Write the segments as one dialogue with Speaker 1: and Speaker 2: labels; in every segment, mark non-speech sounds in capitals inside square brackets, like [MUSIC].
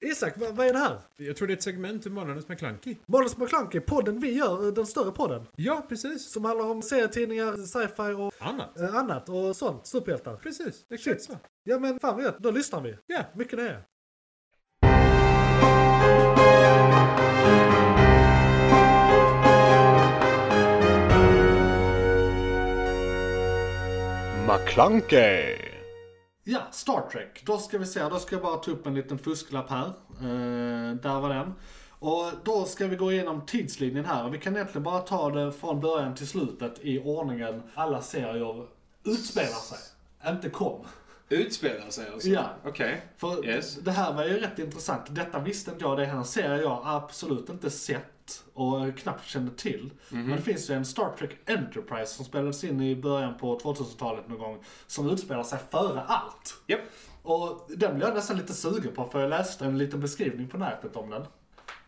Speaker 1: Isak, vad, vad är det här?
Speaker 2: Jag tror det är ett segment ur Månadens McKlunky.
Speaker 1: Måns McClunky, podden vi gör, eh, den större podden.
Speaker 2: Ja, precis.
Speaker 1: Som handlar om serietidningar, sci-fi och
Speaker 2: Annat.
Speaker 1: eh, annat och sånt. Superhjältar.
Speaker 2: Precis, exakt så.
Speaker 1: Ja men fan vad gött, då lyssnar vi.
Speaker 2: Ja.
Speaker 1: Mycket nöje.
Speaker 3: McClunkey!
Speaker 1: Ja, Star Trek. Då ska vi se, då ska jag bara ta upp en liten fusklapp här. Eh, där var den. Och då ska vi gå igenom tidslinjen här. Vi kan egentligen bara ta det från början till slutet i ordningen alla serier utspelar sig. Inte kom.
Speaker 4: Utspelar sig alltså?
Speaker 1: Ja.
Speaker 4: Okej.
Speaker 1: För
Speaker 4: Yes.
Speaker 1: det här var ju rätt intressant. Detta visste inte jag. Det här en serie jag absolut inte sett och knappt kände till.
Speaker 4: Mhm.
Speaker 1: Men det finns ju en Star Trek Enterprise som spelades in i början på 2000-talet någon gång. Som utspelar sig före allt.
Speaker 4: Japp.
Speaker 1: Och den blev jag nästan lite sugen på för jag läste en liten beskrivning på nätet om den.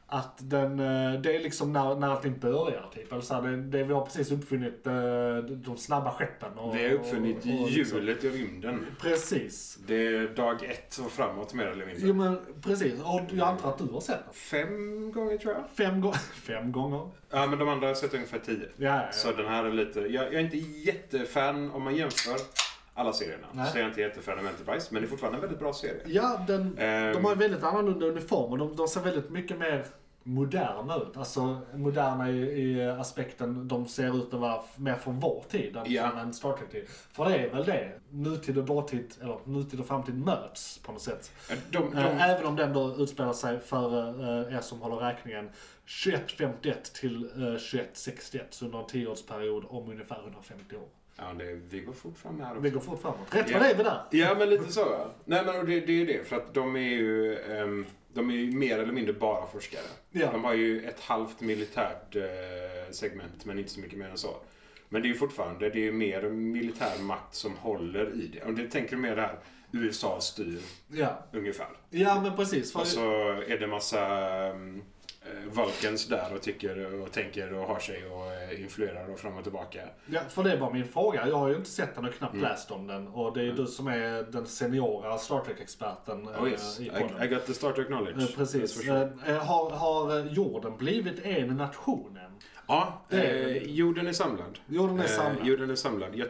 Speaker 1: Att den, eh, det är liksom när, när allting börjar typ. Eller så här, det, det, vi har precis uppfunnit eh, de snabba skeppen. Och,
Speaker 4: Vi har uppfunnit
Speaker 1: och- och liksom-
Speaker 4: hjulet i rymden.
Speaker 1: Precis.
Speaker 4: Det är dag ett och framåt mer eller mindre.
Speaker 1: Jo men precis, och jag antar att du har sett den?
Speaker 4: Fem gånger tror jag.
Speaker 1: Fem, gånger [LAUGHS] fem gånger?
Speaker 4: Ja, men de andra har jag sett ungefär tio.
Speaker 1: Ja, ja,
Speaker 4: Så
Speaker 1: ja.
Speaker 4: den här är lite... Jag, jag är inte jättefan om man jämför alla serierna.
Speaker 1: Nej.
Speaker 4: Så jag är inte jättefan av Enterprise, men det är fortfarande en väldigt bra serie.
Speaker 1: ja den,
Speaker 4: Ehm.
Speaker 1: de har ju väldigt annorlunda uniformer. De, de ser väldigt mycket mer moderna ut. Alltså moderna i, i aspekten de ser ut att vara f- mer från vår tid än
Speaker 4: Ja.
Speaker 1: från en Star Trek-tid. För det är väl det, nutid och dåtid, eller nutid och framtid möts på något sätt.
Speaker 4: Ehm, De, de,
Speaker 1: Eh, Även om den då utspelar sig före eh, er som håller räkningen 2151 till eh, 2161, så under en tioårsperiod om ungefär 150 år.
Speaker 4: Ja, det, vi går fort fram här också.
Speaker 1: Vi går fort framåt. Rätt
Speaker 4: Ja.
Speaker 1: vad det är vi där.
Speaker 4: Ja, men lite så. Ja. Nej, men och det, det är ju det. För att de är ju, ehm, de är ju mer eller mindre bara forskare.
Speaker 1: Ja.
Speaker 4: De har ju ett halvt militärt eh, segment, men inte så mycket mer än så. Men det är ju fortfarande, det är ju mer militär makt som håller i det. Om det tänker du mer det här, USA styr
Speaker 1: Ja,
Speaker 4: ungefär.
Speaker 1: ja men precis. För
Speaker 4: Och så är det massa ehm, eh, Vulcans där och tycker och tänker och har sig och eh, influerar och fram och tillbaka.
Speaker 1: Ja, för det var min fråga. Jag har ju inte sett den och knappt
Speaker 4: Mm.
Speaker 1: läst om den. Och det är ju du som är den seniora Star Trek-experten eh,
Speaker 4: Oh yes,
Speaker 1: i
Speaker 4: I,
Speaker 1: podden.
Speaker 4: I got the starter knowledge.
Speaker 1: Eh, Precis.
Speaker 4: That's for sure.
Speaker 1: Eh, Har, har jorden blivit en nation än?
Speaker 4: Ja,
Speaker 1: Det är-
Speaker 4: eh, jorden är samlad.
Speaker 1: Jorden är samlad.
Speaker 4: Eh, jorden är samlad. Jag,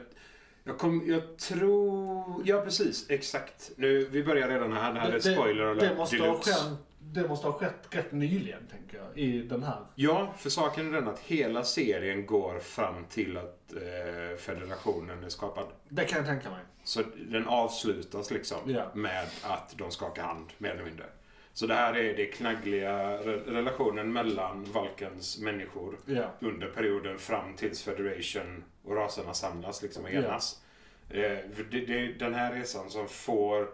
Speaker 4: jag, kom, jag tror... Ja, precis. Exakt. Nu, vi börjar redan här. Det här är spoiler
Speaker 1: det,
Speaker 4: alert
Speaker 1: det, måste ha
Speaker 4: deluxe.
Speaker 1: skett, det måste ha skett rätt nyligen, tänker jag, i den här.
Speaker 4: Ja, för saken är den att hela serien går fram till att eh, federationen är skapad.
Speaker 1: Det kan jag tänka mig.
Speaker 4: Så den avslutas liksom
Speaker 1: Ja.
Speaker 4: med att de skakar hand, mer eller mindre. Så det här är det knaggliga re- relationen mellan Valkens människor
Speaker 1: Ja.
Speaker 4: under perioden fram tills Federation och raserna samlas liksom och
Speaker 1: Ja.
Speaker 4: enas. Eh, för det, det är den här resan som får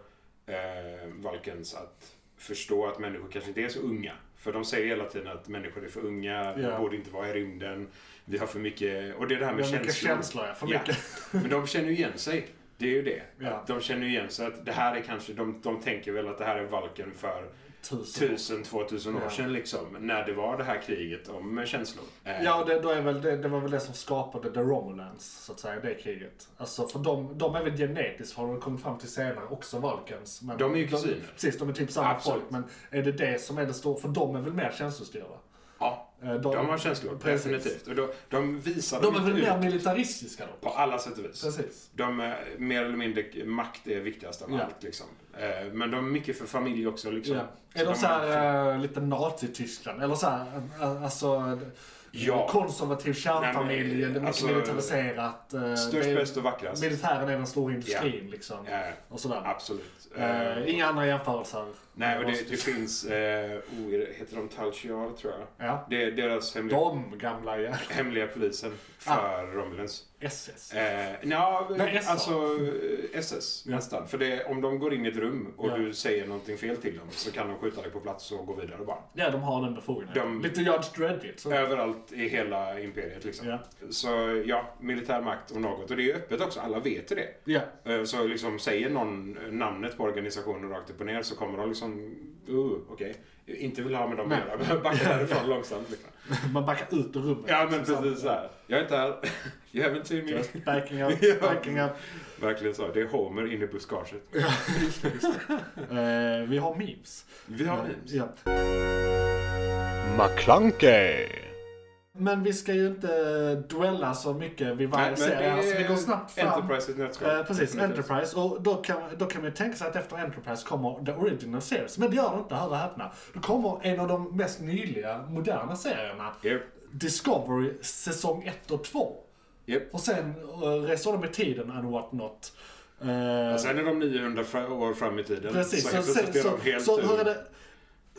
Speaker 4: eh, Valkens att förstå att människor kanske inte är så unga. För de säger hela tiden att människor är för unga,
Speaker 1: Ja.
Speaker 4: de borde inte vara i rymden, vi har för mycket... Och det är det här
Speaker 1: Det
Speaker 4: med
Speaker 1: är mycket
Speaker 4: känslor.
Speaker 1: känslor, ja. För
Speaker 4: Ja.
Speaker 1: mycket.
Speaker 4: Men de känner ju igen sig. Det är ju det.
Speaker 1: Ja.
Speaker 4: Att de känner ju igen sig. Att det här är kanske, de, de tänker väl att det här är valken för
Speaker 1: Tusen.
Speaker 4: tusen, två tusen år
Speaker 1: Ja.
Speaker 4: sedan liksom. När det var det här kriget om känslor. Eh,
Speaker 1: Ja, och det, då är väl det, det var väl det som skapade The Romulans, så att säga, det kriget. Alltså, för de, de är väl genetiskt, har de kommit fram till senare, också Valkens. Men
Speaker 4: De är ju kusiner.
Speaker 1: Precis, de är typ samma
Speaker 4: Absolut.
Speaker 1: folk. Men är det det som är det stora, för de är väl mer känslostyrda?
Speaker 4: ja.
Speaker 1: Eh, De,
Speaker 4: De har känslor,
Speaker 1: Precis.
Speaker 4: definitivt. Och de, de visar
Speaker 1: De är
Speaker 4: dem
Speaker 1: väl
Speaker 4: ut
Speaker 1: mer militaristiska då?
Speaker 4: på alla sätt och vis.
Speaker 1: Precis.
Speaker 4: De är, mer eller mindre, makt är viktigast av
Speaker 1: Ja.
Speaker 4: allt liksom. Eh, Men de är mycket för familj också liksom.
Speaker 1: Ja. Är de
Speaker 4: de-
Speaker 1: så här eh, lite Nazityskland? Eller så här, eh, alltså... eh,
Speaker 4: Ja.
Speaker 1: Konservativ kärnfamilj,
Speaker 4: Nej, men,
Speaker 1: det är mycket
Speaker 4: alltså,
Speaker 1: militariserat. eh,
Speaker 4: Störst,
Speaker 1: det är-
Speaker 4: bäst och vackrast.
Speaker 1: Militären är den stora industrin liksom.
Speaker 4: Eh,
Speaker 1: Och sådär.
Speaker 4: Absolut.
Speaker 1: Eh,
Speaker 4: Eh,
Speaker 1: inga andra jämförelser.
Speaker 4: Nej, och det, det finns... Eh, oh, är det- heter de Talchiar, tror jag?
Speaker 1: Ja.
Speaker 4: Det är deras hemliga,
Speaker 1: De gamla ja.
Speaker 4: hemliga polisen för Romulans.
Speaker 1: SS.
Speaker 4: Eh, nja,
Speaker 1: Nej, SS.
Speaker 4: alltså eh, SS
Speaker 1: Ja.
Speaker 4: nästan. För det, om de går in i ett rum och
Speaker 1: Ja.
Speaker 4: du säger någonting fel till dem så kan de skjuta dig på plats och gå vidare bara.
Speaker 1: Ja, de har den befogenheten.
Speaker 4: De-
Speaker 1: Lite Judge Dredd så.
Speaker 4: Överallt i hela imperiet liksom.
Speaker 1: Ja.
Speaker 4: Så ja, militär makt om något. Och det är ju öppet också, alla vet ju det.
Speaker 1: Ja. [LAUGHS]
Speaker 4: Eh, Så liksom säger någon namnet på organisationen rakt upp och ner så kommer de liksom uh, okej. Inte vill ha med dem att
Speaker 1: Nej.
Speaker 4: göra. Backa härifrån långsamt. Liksom.
Speaker 1: Man backar ut ur rummet.
Speaker 4: [LAUGHS] Ja, men precis så här. Jag är inte här. [LAUGHS] You haven't seen me.
Speaker 1: Just Backing up,
Speaker 4: [LAUGHS] Ja.
Speaker 1: backing up.
Speaker 4: Verkligen så. Det är Homer inne i buskaget.
Speaker 1: Eh, vi har memes. Eh,
Speaker 4: Vi har memes.
Speaker 1: Ja.
Speaker 5: McClunkey,
Speaker 1: Men vi ska ju inte dwella så mycket vid
Speaker 4: Nej,
Speaker 1: varje serie. här, så vi Alltså, går snabbt fram.
Speaker 4: Enterprise i ett nötskal.
Speaker 1: Eh, precis,
Speaker 4: Definitivt.
Speaker 1: Enterprise. Och då kan, då kan man ju tänka sig att efter Enterprise kommer The Original Series. Men det gör det inte, hör och häpna. Då kommer en av de mest nyliga, moderna serierna.
Speaker 4: Japp,
Speaker 1: Discovery säsong 1 och 2.
Speaker 4: japp.
Speaker 1: Och sen eh, reser de i tiden and what not. Eh,
Speaker 4: Och sen är de 900 fra- år fram i tiden.
Speaker 1: Precis,
Speaker 4: så
Speaker 1: så,
Speaker 4: helt plötsligt
Speaker 1: sen, så,
Speaker 4: är de helt... eh,
Speaker 1: så hur
Speaker 4: ur-
Speaker 1: är det,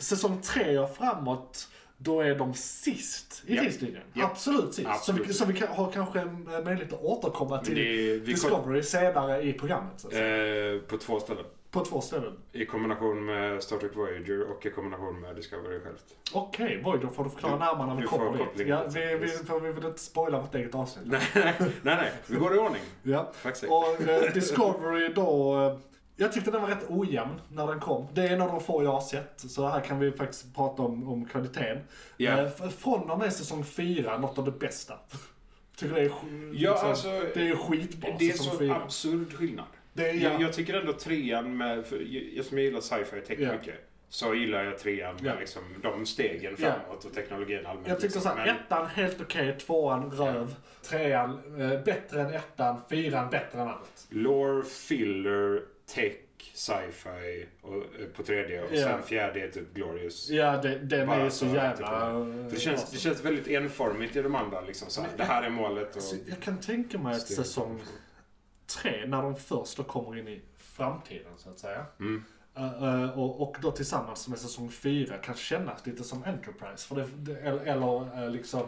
Speaker 1: säsong tre och framåt, då är de sist i
Speaker 4: Ja.
Speaker 1: tidslinjen.
Speaker 4: Ja.
Speaker 1: Absolut sist. Så vi,
Speaker 4: Absolut.
Speaker 1: så vi kan, har kanske en eh, möjlighet att återkomma till
Speaker 4: det- vi
Speaker 1: Discovery senare i programmet. Så att säga.
Speaker 4: Eh, på två ställen.
Speaker 1: På två ställen.
Speaker 4: I kombination med Star Trek Voyager och i kombination med Discovery
Speaker 1: [LAUGHS]
Speaker 4: självt.
Speaker 1: Okej, Void, då får du förklara närmare när vi
Speaker 4: du får
Speaker 1: kommer dit.
Speaker 4: kopplingen.
Speaker 1: Ja, vi, vi, för vi vill inte spoila vårt eget avsnitt.
Speaker 4: nej, nej, nej. Vi går i ordning.
Speaker 1: Ja.
Speaker 4: Faktiskt.
Speaker 1: Och
Speaker 4: [LAUGHS]
Speaker 1: eh, Discovery då, eh, jag tyckte den var rätt ojämn när den kom. Det är en av de få jag har sett, så här kan vi faktiskt prata om, om kvaliteten.
Speaker 4: Ja.
Speaker 1: Eh, f- från och med säsong 4, något av det bästa. Tycker det är, sk-
Speaker 4: Ja, alltså,
Speaker 1: Liksom, det är ju skitbra
Speaker 4: Det är
Speaker 1: säsong
Speaker 4: så
Speaker 1: 4.
Speaker 4: absurd skillnad.
Speaker 1: Det är- ja.
Speaker 4: jag, jag tycker ändå trean med... För, jag som gillar sci-fi tech
Speaker 1: Ja.
Speaker 4: mycket. Så gillar jag trean med
Speaker 1: Ja.
Speaker 4: liksom, de stegen
Speaker 1: Ja.
Speaker 4: framåt och teknologin allmänt.
Speaker 1: Jag tyckte
Speaker 4: liksom.
Speaker 1: såhär,
Speaker 4: Men-
Speaker 1: ettan helt okej, tvåan röv, trean eh, bättre än ettan, fyran bättre än allt.
Speaker 4: Lore, filler, tech, sci-fi och, eh, på tredje och
Speaker 1: Ja.
Speaker 4: sen fjärde är typ Glorious.
Speaker 1: Ja, det, den
Speaker 4: Bara
Speaker 1: är ju så
Speaker 4: så här,
Speaker 1: jävla... eh,
Speaker 4: Det, känns,
Speaker 1: awesome.
Speaker 4: det känns väldigt enformigt i de andra liksom. Så här, det här är målet och...
Speaker 1: Så Alltså, jag kan tänka mig att säsong tre, när de först då kommer in i framtiden så att säga.
Speaker 4: Mm.
Speaker 1: Eh, eh, och, och då tillsammans med säsong fyra kan kännas lite som Enterprise. För det, det, eller- eller eh, liksom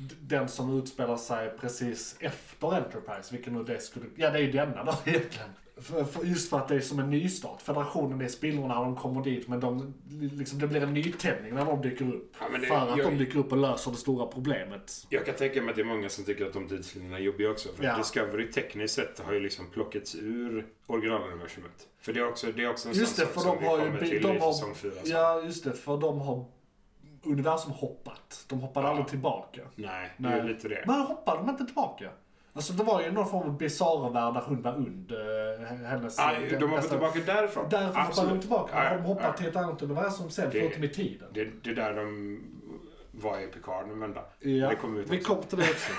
Speaker 1: d- den som utspelar sig precis efter Enterprise, vilken nu det skulle... Ja, det är ju denna då [LAUGHS] egentligen. För, för, just för att det är som en nystart. Federationen är spillrorna när de kommer dit, men de, liksom, det blir en nytändning när de dyker upp.
Speaker 4: Ja, men det-
Speaker 1: för att
Speaker 4: jag-
Speaker 1: de dyker upp och löser det stora problemet.
Speaker 4: Jag kan tänka mig att det är många som tycker att de tidslinjerna är jobbiga också. För
Speaker 1: Ja.
Speaker 4: Discovery tekniskt sett har ju liksom plockats ur originaluniversumet. För det är också, det är också en
Speaker 1: Just det,
Speaker 4: sån
Speaker 1: för
Speaker 4: sak som
Speaker 1: de
Speaker 4: vi
Speaker 1: har ju...
Speaker 4: kommer
Speaker 1: bi-
Speaker 4: till
Speaker 1: De
Speaker 4: i
Speaker 1: har,
Speaker 4: säsong fyra. så.
Speaker 1: ja, just det, för de har universum hoppat. De hoppade aldrig tillbaka.
Speaker 4: Nej, det är lite det.
Speaker 1: Men hoppade de inte tillbaka? Alltså det var ju någon form av bisarra-värld där hon var und. eh, Hennes...
Speaker 4: Ah,
Speaker 1: den
Speaker 4: de har gått
Speaker 1: bästa-
Speaker 4: tillbaka därifrån.
Speaker 1: Därför hoppade de
Speaker 4: Absolut.
Speaker 1: tillbaka.
Speaker 4: Ja,
Speaker 1: de hoppade
Speaker 4: ja.
Speaker 1: till ett annat universum sen,
Speaker 4: Det-
Speaker 1: förutom i tiden.
Speaker 4: Det, det är där de var i Picard en vända.
Speaker 1: ja,
Speaker 4: Det kom ut
Speaker 1: vi
Speaker 4: också.
Speaker 1: kom till det
Speaker 4: [LAUGHS]
Speaker 1: också.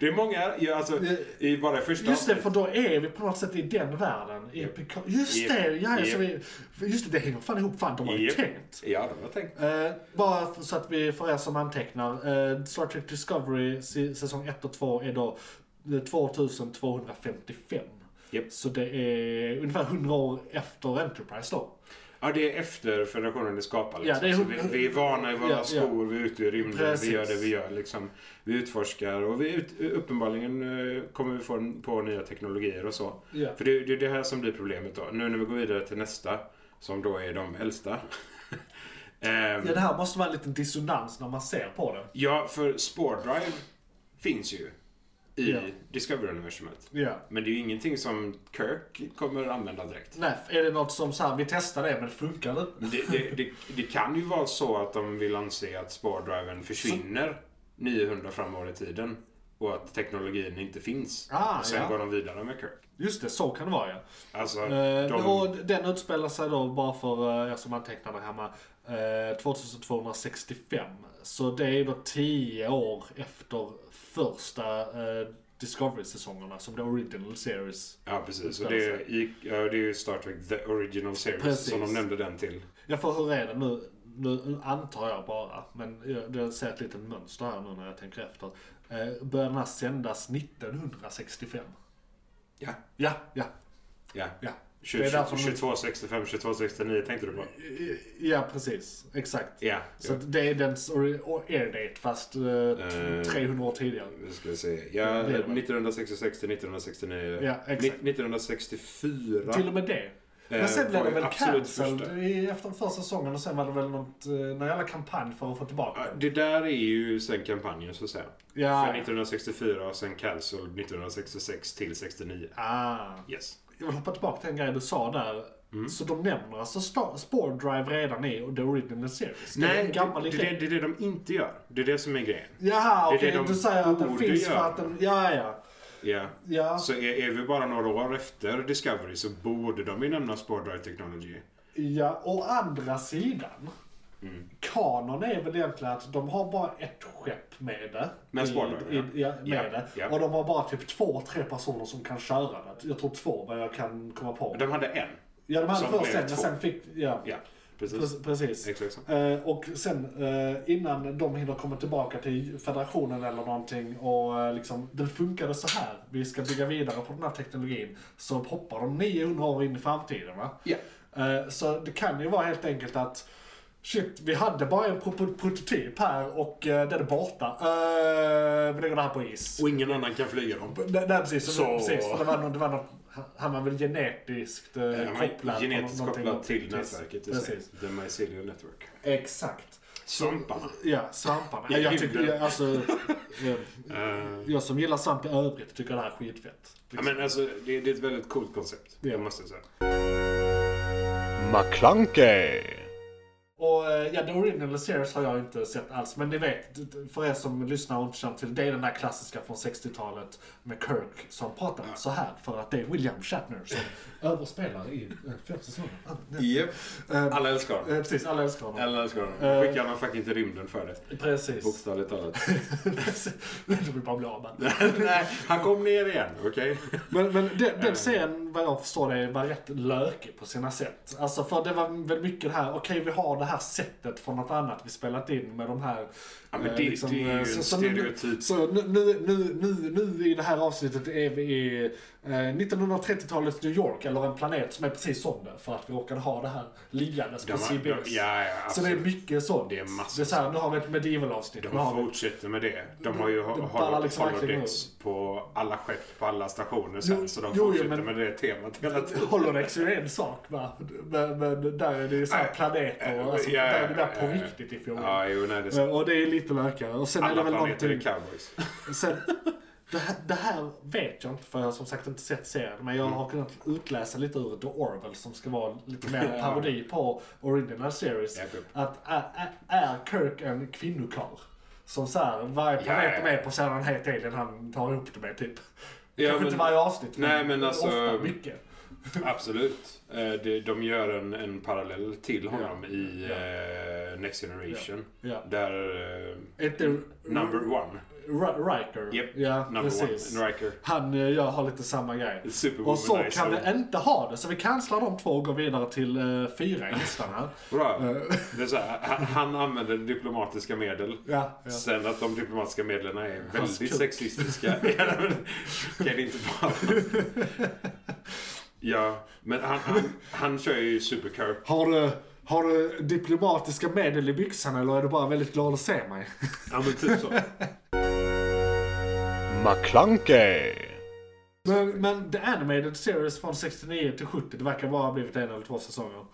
Speaker 4: Det är många, ja, alltså, i bara första
Speaker 1: Just det, för
Speaker 4: avsnittet.
Speaker 1: då är vi på något sätt i den världen. I
Speaker 4: Japp.
Speaker 1: Picard- Just
Speaker 4: Japp.
Speaker 1: det, ja, så
Speaker 4: Japp.
Speaker 1: vi, just det, det hänger fan ihop. Fan, de har ju
Speaker 4: Japp.
Speaker 1: tänkt.
Speaker 4: Ja, de har tänkt.
Speaker 1: Eh, bara f- så att vi, för er som antecknar. Eh, Star Trek Discovery si- säsong 1 och 2 är då eh, 2255.
Speaker 4: Japp.
Speaker 1: Så det är ungefär 100 år efter Enterprise då.
Speaker 4: Ja, det är efter federationen är skapad.
Speaker 1: Ja,
Speaker 4: Liksom.
Speaker 1: det är
Speaker 4: så
Speaker 1: hon-
Speaker 4: vi, vi är vana i våra
Speaker 1: Ja, ja.
Speaker 4: skor, vi är ute i rymden,
Speaker 1: Precis.
Speaker 4: vi gör det vi gör. Liksom. Vi utforskar och vi ut, uppenbarligen eh, kommer vi få på nya teknologier och så.
Speaker 1: Ja.
Speaker 4: För det, det är det här som blir problemet då. Nu när vi går vidare till nästa, som då är de äldsta. [LAUGHS] Ehm,
Speaker 1: Ja, det här måste vara en liten dissonans när man ser på den.
Speaker 4: Ja, för spårdrive finns ju i
Speaker 1: Ja.
Speaker 4: Discovery-universumet.
Speaker 1: Ja.
Speaker 4: Men det är ju ingenting som Kirk kommer använda direkt.
Speaker 1: Nej, är det något som så här, vi testar det men det funkar det inte?
Speaker 4: Det, det, det, det kan ju vara så att de vill anse att spårdriven försvinner 900 framåt i tiden och att teknologin inte finns.
Speaker 1: Ah,
Speaker 4: och sen
Speaker 1: ja.
Speaker 4: går de vidare med Kirk.
Speaker 1: Just det, så kan det vara ja.
Speaker 4: Alltså,
Speaker 1: Eh,
Speaker 4: de,
Speaker 1: Och den utspelar sig då, bara för eh, er som antecknar det hemma, eh, 2265. Så det är då 10 år efter första eh, Discovery-säsongerna som The Original Series.
Speaker 4: ja, precis. Och det, är i, ja, det är ju Star Trek The Original Series
Speaker 1: Precis.
Speaker 4: som de nämnde den till.
Speaker 1: Jag får hur är det nu? Nu antar jag bara, men jag, jag ser ett litet mönster här nu när jag tänker efter. Eh, börjar den här sändas 1965?
Speaker 4: Ja.
Speaker 1: Ja, ja,
Speaker 4: ja.
Speaker 1: ja. Det är
Speaker 4: 20,
Speaker 1: därför de-
Speaker 4: 2265, 2269 tänkte du på?
Speaker 1: Eh, Ja, precis. Exakt.
Speaker 4: Ja.
Speaker 1: Så att det är dens ori- och air date fast eh, t-
Speaker 4: Eh.
Speaker 1: 300 år tidigare.
Speaker 4: Nu ska vi se. Ja,
Speaker 1: Det är det väl.
Speaker 4: 1966 till 1969.
Speaker 1: Ja, exakt.
Speaker 4: Ni- 1964.
Speaker 1: Till och med det.
Speaker 4: eh,
Speaker 1: Men sen blev
Speaker 4: var
Speaker 1: det
Speaker 4: ju
Speaker 1: väl
Speaker 4: absolut
Speaker 1: cancelled
Speaker 4: första.
Speaker 1: i- efter den första säsongen och sen var det väl något, eh, någon jävla kampanj för att få tillbaka
Speaker 4: Ja,
Speaker 1: den.
Speaker 4: Det där är ju sen kampanjen så att säga.
Speaker 1: Ja.
Speaker 4: För 1964 och sen cancelled 1966 till 69.
Speaker 1: Ah.
Speaker 4: Yes.
Speaker 1: Jag vill hoppa tillbaka till en grej du sa där.
Speaker 4: Mm.
Speaker 1: Så de nämner alltså Star, Spore Drive redan i The Original Series. Det är
Speaker 4: Nej,
Speaker 1: en gammal
Speaker 4: det,
Speaker 1: idé.
Speaker 4: det, det är det de inte gör. Det är det som är grejen.
Speaker 1: Jaha,
Speaker 4: det är
Speaker 1: okej.
Speaker 4: det de
Speaker 1: Du säger att den
Speaker 4: borde
Speaker 1: finns för
Speaker 4: göra.
Speaker 1: att den... Ja, ja.
Speaker 4: Ja.
Speaker 1: Ja,
Speaker 4: Så är, är vi bara några år efter Discovery så borde de ju nämna Spore Drive Technology.
Speaker 1: ja. Å andra sidan.
Speaker 4: Mm.
Speaker 1: Kanon är väl egentligen att de har bara ett skepp med det.
Speaker 4: Med
Speaker 1: I-
Speaker 4: Spore Drive,
Speaker 1: i- ja.
Speaker 4: ja.
Speaker 1: med
Speaker 4: Ja,
Speaker 1: det.
Speaker 4: ja.
Speaker 1: Och de har bara typ två, tre personer som kan köra det. Jag tror två, men jag kan komma på.
Speaker 4: De hade en.
Speaker 1: ja, de hade
Speaker 4: som
Speaker 1: först
Speaker 4: blev
Speaker 1: en, men
Speaker 4: två.
Speaker 1: sen fick... Ja,
Speaker 4: Ja, precis.
Speaker 1: Pre- precis.
Speaker 4: Exakt så.
Speaker 1: Eh, och sen eh, innan de hinner komma tillbaka till federationen eller någonting och eh, liksom, den funkade så här, vi ska bygga vidare på den här teknologin, så hoppar de 900 år in i framtiden. Va?
Speaker 4: Ja.
Speaker 1: Eh, så det kan ju vara helt enkelt att Shit, vi hade bara en pro- pro- prototyp här och eh, den är borta. Eh, vi lägger det här på is.
Speaker 4: Och ingen annan kan flyga dem.
Speaker 1: Nej, nej precis,
Speaker 4: Så-
Speaker 1: precis för det var, någon, det var någon, han var väl genetiskt eh,
Speaker 4: Eh,
Speaker 1: kopplad. på nå-
Speaker 4: Genetiskt
Speaker 1: någonting.
Speaker 4: kopplad till
Speaker 1: Precis.
Speaker 4: nätverket i sig.
Speaker 1: Precis.
Speaker 4: The Mycelial Network.
Speaker 1: Exakt.
Speaker 4: Svamparna.
Speaker 1: Ja, svamparna.
Speaker 4: Ja,
Speaker 1: jag, tycker,
Speaker 4: huden.
Speaker 1: jag, alltså, eh, jag som gillar svamp i övrigt tycker det här är skitfett.
Speaker 4: Ja, men alltså, det, det är ett väldigt coolt koncept.
Speaker 1: Ja.
Speaker 4: Det måste jag säga.
Speaker 6: McClunkey.
Speaker 1: Och eh, ja, The Original Series har jag inte sett alls. Men ni vet, för er som lyssnar och inte känner till det, är den där klassiska från 60-talet med Kirk som pratar så här för att det är William Shatner som [LAUGHS] överspelar i eh, första säsongen. Ah, nej.
Speaker 4: Yep.
Speaker 1: Eh,
Speaker 4: Alla älskar honom.
Speaker 1: eh, Precis, alla älskar honom.
Speaker 4: Alla älskar honom.
Speaker 1: Eh.
Speaker 4: Skickar honom fucking till rymden för
Speaker 1: [LAUGHS]
Speaker 4: det.
Speaker 1: Precis.
Speaker 4: Bokstavligt talat.
Speaker 1: De vill bara bli av med
Speaker 4: Nej, han kom ner igen. Okej?
Speaker 1: Men, men den, den serien, vad jag förstår det, var rätt lökig på sina sätt. Alltså för det var väl mycket det här, okej vi har det här sättet från något annat vi spelat in med de här...
Speaker 4: Ja, men
Speaker 1: eh,
Speaker 4: det- det är ju
Speaker 1: eh,
Speaker 4: en stereotyp.
Speaker 1: Så, nu, nu, nu, nu, nu i det här avsnittet är vi i eh, 1930-talets New York, eller en planet som är precis som det, för att vi råkade ha det här liggandes
Speaker 4: De
Speaker 1: på
Speaker 4: har- de-
Speaker 1: CBS.
Speaker 4: ja, ja,
Speaker 1: så det är
Speaker 4: absolut.
Speaker 1: mycket sånt.
Speaker 4: Det är massor
Speaker 1: det är så här, nu har vi ett medieval-avsnitt. nu har
Speaker 4: De
Speaker 1: vi-
Speaker 4: fortsätter med det. De har ju
Speaker 1: det
Speaker 4: har-
Speaker 1: ballar liksom
Speaker 4: har
Speaker 1: verkligen
Speaker 4: holodex på alla skepp, på alla stationer sen.
Speaker 1: Jo,
Speaker 4: så de
Speaker 1: jo, jo,
Speaker 4: fortsätter
Speaker 1: men-
Speaker 4: med det temat hela
Speaker 1: [LAUGHS]
Speaker 4: tiden.
Speaker 1: Holodex är ju en sak va. Men, men där är det ju så här
Speaker 4: Äh,
Speaker 1: planeter och alltså,
Speaker 4: ja,
Speaker 1: där är det där på
Speaker 4: ja, ja.
Speaker 1: riktigt i fjol.
Speaker 4: Ja, jo, nej, det är
Speaker 1: Eh,
Speaker 4: så.
Speaker 1: Och det är lite lökigare. Och sen är det
Speaker 4: Alla
Speaker 1: väl
Speaker 4: planeter
Speaker 1: någonting...
Speaker 4: är cowboys.
Speaker 1: Sen, det, här, det här vet jag inte för jag har som sagt inte sett serien. Men jag
Speaker 4: Mm.
Speaker 1: har kunnat utläsa lite ur The Orwell som ska vara lite mer parodi på Original Series.
Speaker 4: Japp, japp.
Speaker 1: Att är, är- är Kirk en kvinnokarl? Som såhär, varje
Speaker 4: Ja,
Speaker 1: planet
Speaker 4: ja,
Speaker 1: de är
Speaker 4: ja.
Speaker 1: på så är det en helt alien han tar ihop det med typ.
Speaker 4: Ja,
Speaker 1: Kanske
Speaker 4: men-
Speaker 1: inte varje avsnitt
Speaker 4: Nej, men alltså-
Speaker 1: ofta mycket. [LAUGHS]
Speaker 4: Absolut. Eh, det- De gör en, en parallell till honom i eh, Next Generation.
Speaker 1: Ja.
Speaker 4: Där... eh,
Speaker 1: Inte
Speaker 4: Number one.
Speaker 1: R- Riker.
Speaker 4: Yep.
Speaker 1: Ja,
Speaker 4: Number
Speaker 1: precis.
Speaker 4: one. Riker.
Speaker 1: Han eh, jag har lite samma grej.
Speaker 4: Superwomanizer.
Speaker 1: Och så kan vi inte ha det, så vi cancelar de två och går vidare till eh, fyra i listan
Speaker 4: [LAUGHS]
Speaker 1: här. [LAUGHS]
Speaker 4: Bra. Det är så här, han, han använder diplomatiska medel.
Speaker 1: Ja, ja.
Speaker 4: Sen att de diplomatiska medlen är
Speaker 1: Hans
Speaker 4: väldigt
Speaker 1: kuk. [LAUGHS]
Speaker 4: sexistiska. Ja, men, kan det inte vara. Ja, men han, han, han kör ju supercurve.
Speaker 1: Har du, har du diplomatiska medel i byxan eller är du bara väldigt glad att se mig? [LAUGHS]
Speaker 4: Ja, men typ så.
Speaker 6: McClunkey.
Speaker 1: Men, men The Animated Series från 69 till 70, det verkar bara ha blivit en eller två säsonger.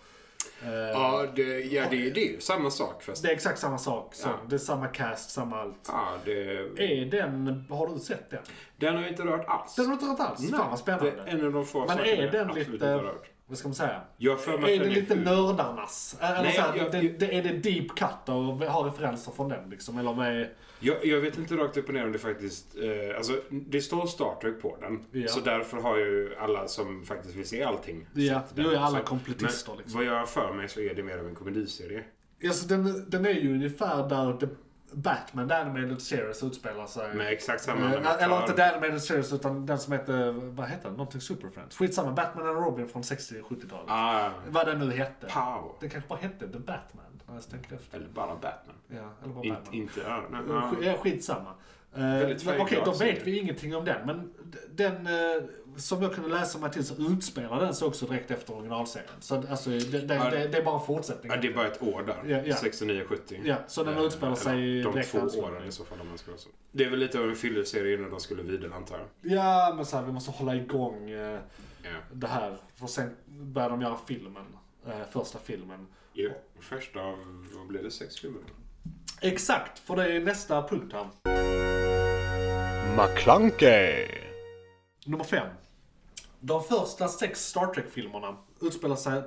Speaker 1: Eh,
Speaker 4: Ja, det, ja, det, det är ju samma sak fast...
Speaker 1: Det är exakt samma sak, så.
Speaker 4: Ja.
Speaker 1: det är samma cast, samma allt.
Speaker 4: Ja, det,
Speaker 1: Är den, har du sett den?
Speaker 4: den har jag inte rört alls.
Speaker 1: Den har du inte hört alls? Fan vad spännande.
Speaker 4: Det är en av de få
Speaker 1: Men
Speaker 4: sakerna
Speaker 1: är
Speaker 4: jag
Speaker 1: den
Speaker 4: absolut
Speaker 1: lite,
Speaker 4: inte har rört.
Speaker 1: vad ska man säga?
Speaker 4: Jag har för mig
Speaker 1: Är det
Speaker 4: att den är
Speaker 1: lite
Speaker 4: sju.
Speaker 1: nördarnas? Eller
Speaker 4: Nej,
Speaker 1: så här,
Speaker 4: jag-
Speaker 1: det,
Speaker 4: jag-
Speaker 1: det, är det deep cut och har referenser från den liksom? Eller vad är...
Speaker 4: Jag, jag vet inte rakt upp och ner om det faktiskt... Eh, alltså, det står Star Trek på den.
Speaker 1: Ja.
Speaker 4: Så därför har ju alla som faktiskt vill se allting
Speaker 1: Ja,
Speaker 4: sett
Speaker 1: nu är alla
Speaker 4: Så-
Speaker 1: kompletister,
Speaker 4: Men
Speaker 1: liksom.
Speaker 4: vad jag har för mig så är det mer av en komediserie.
Speaker 1: Alltså, den, den är ju ungefär där The Batman, The Animated Series utspelar sig.
Speaker 4: Med exakt samma...
Speaker 1: Eh, Eller inte
Speaker 4: amatör.
Speaker 1: The Animated Series utan den som heter, vad heter den? Någonting Super Friends. Skitsamma, Batman and Robin från 60-70-talet.
Speaker 4: Ah,
Speaker 1: Vad den nu hette.
Speaker 4: Pow.
Speaker 1: Den kanske bara hette The Batman. när Jag tänker efter.
Speaker 4: Eller bara Batman.
Speaker 1: Ja, eller bara
Speaker 4: Inte...
Speaker 1: Batman.
Speaker 4: inte ja, nej,
Speaker 1: Ja,
Speaker 4: ja.
Speaker 1: sk- skitsamma. Eh, men
Speaker 4: färgglad
Speaker 1: Okej, då
Speaker 4: serie.
Speaker 1: vet vi ingenting om den. Men d- den eh, som jag kunde läsa mig till så utspelar den sig också direkt efter originalserien. Så att, alltså, det, det,
Speaker 4: Ja,
Speaker 1: det, det är bara en fortsättning.
Speaker 4: Ja, det är bara ett år där.
Speaker 1: Ja, ja.
Speaker 4: 69, 70.
Speaker 1: Ja, så den
Speaker 4: Eh,
Speaker 1: utspelar sig
Speaker 4: eller De
Speaker 1: direkt
Speaker 4: två
Speaker 1: alltså.
Speaker 4: åren liksom. i så fall om man ska vara så. Det är väl lite av en fylleserie innan de skulle vidare antar jag.
Speaker 1: Ja, men så här, vi måste hålla igång eh,
Speaker 4: Ja.
Speaker 1: det här. För sen börjar de göra filmen. Eh, första filmen.
Speaker 4: Jo, första av, vad blev det, sex filmer?
Speaker 1: Exakt, för det är nästa punkt här.
Speaker 6: McClunkey.
Speaker 1: Nummer fem. De första sex Star Trek-filmerna utspelar sig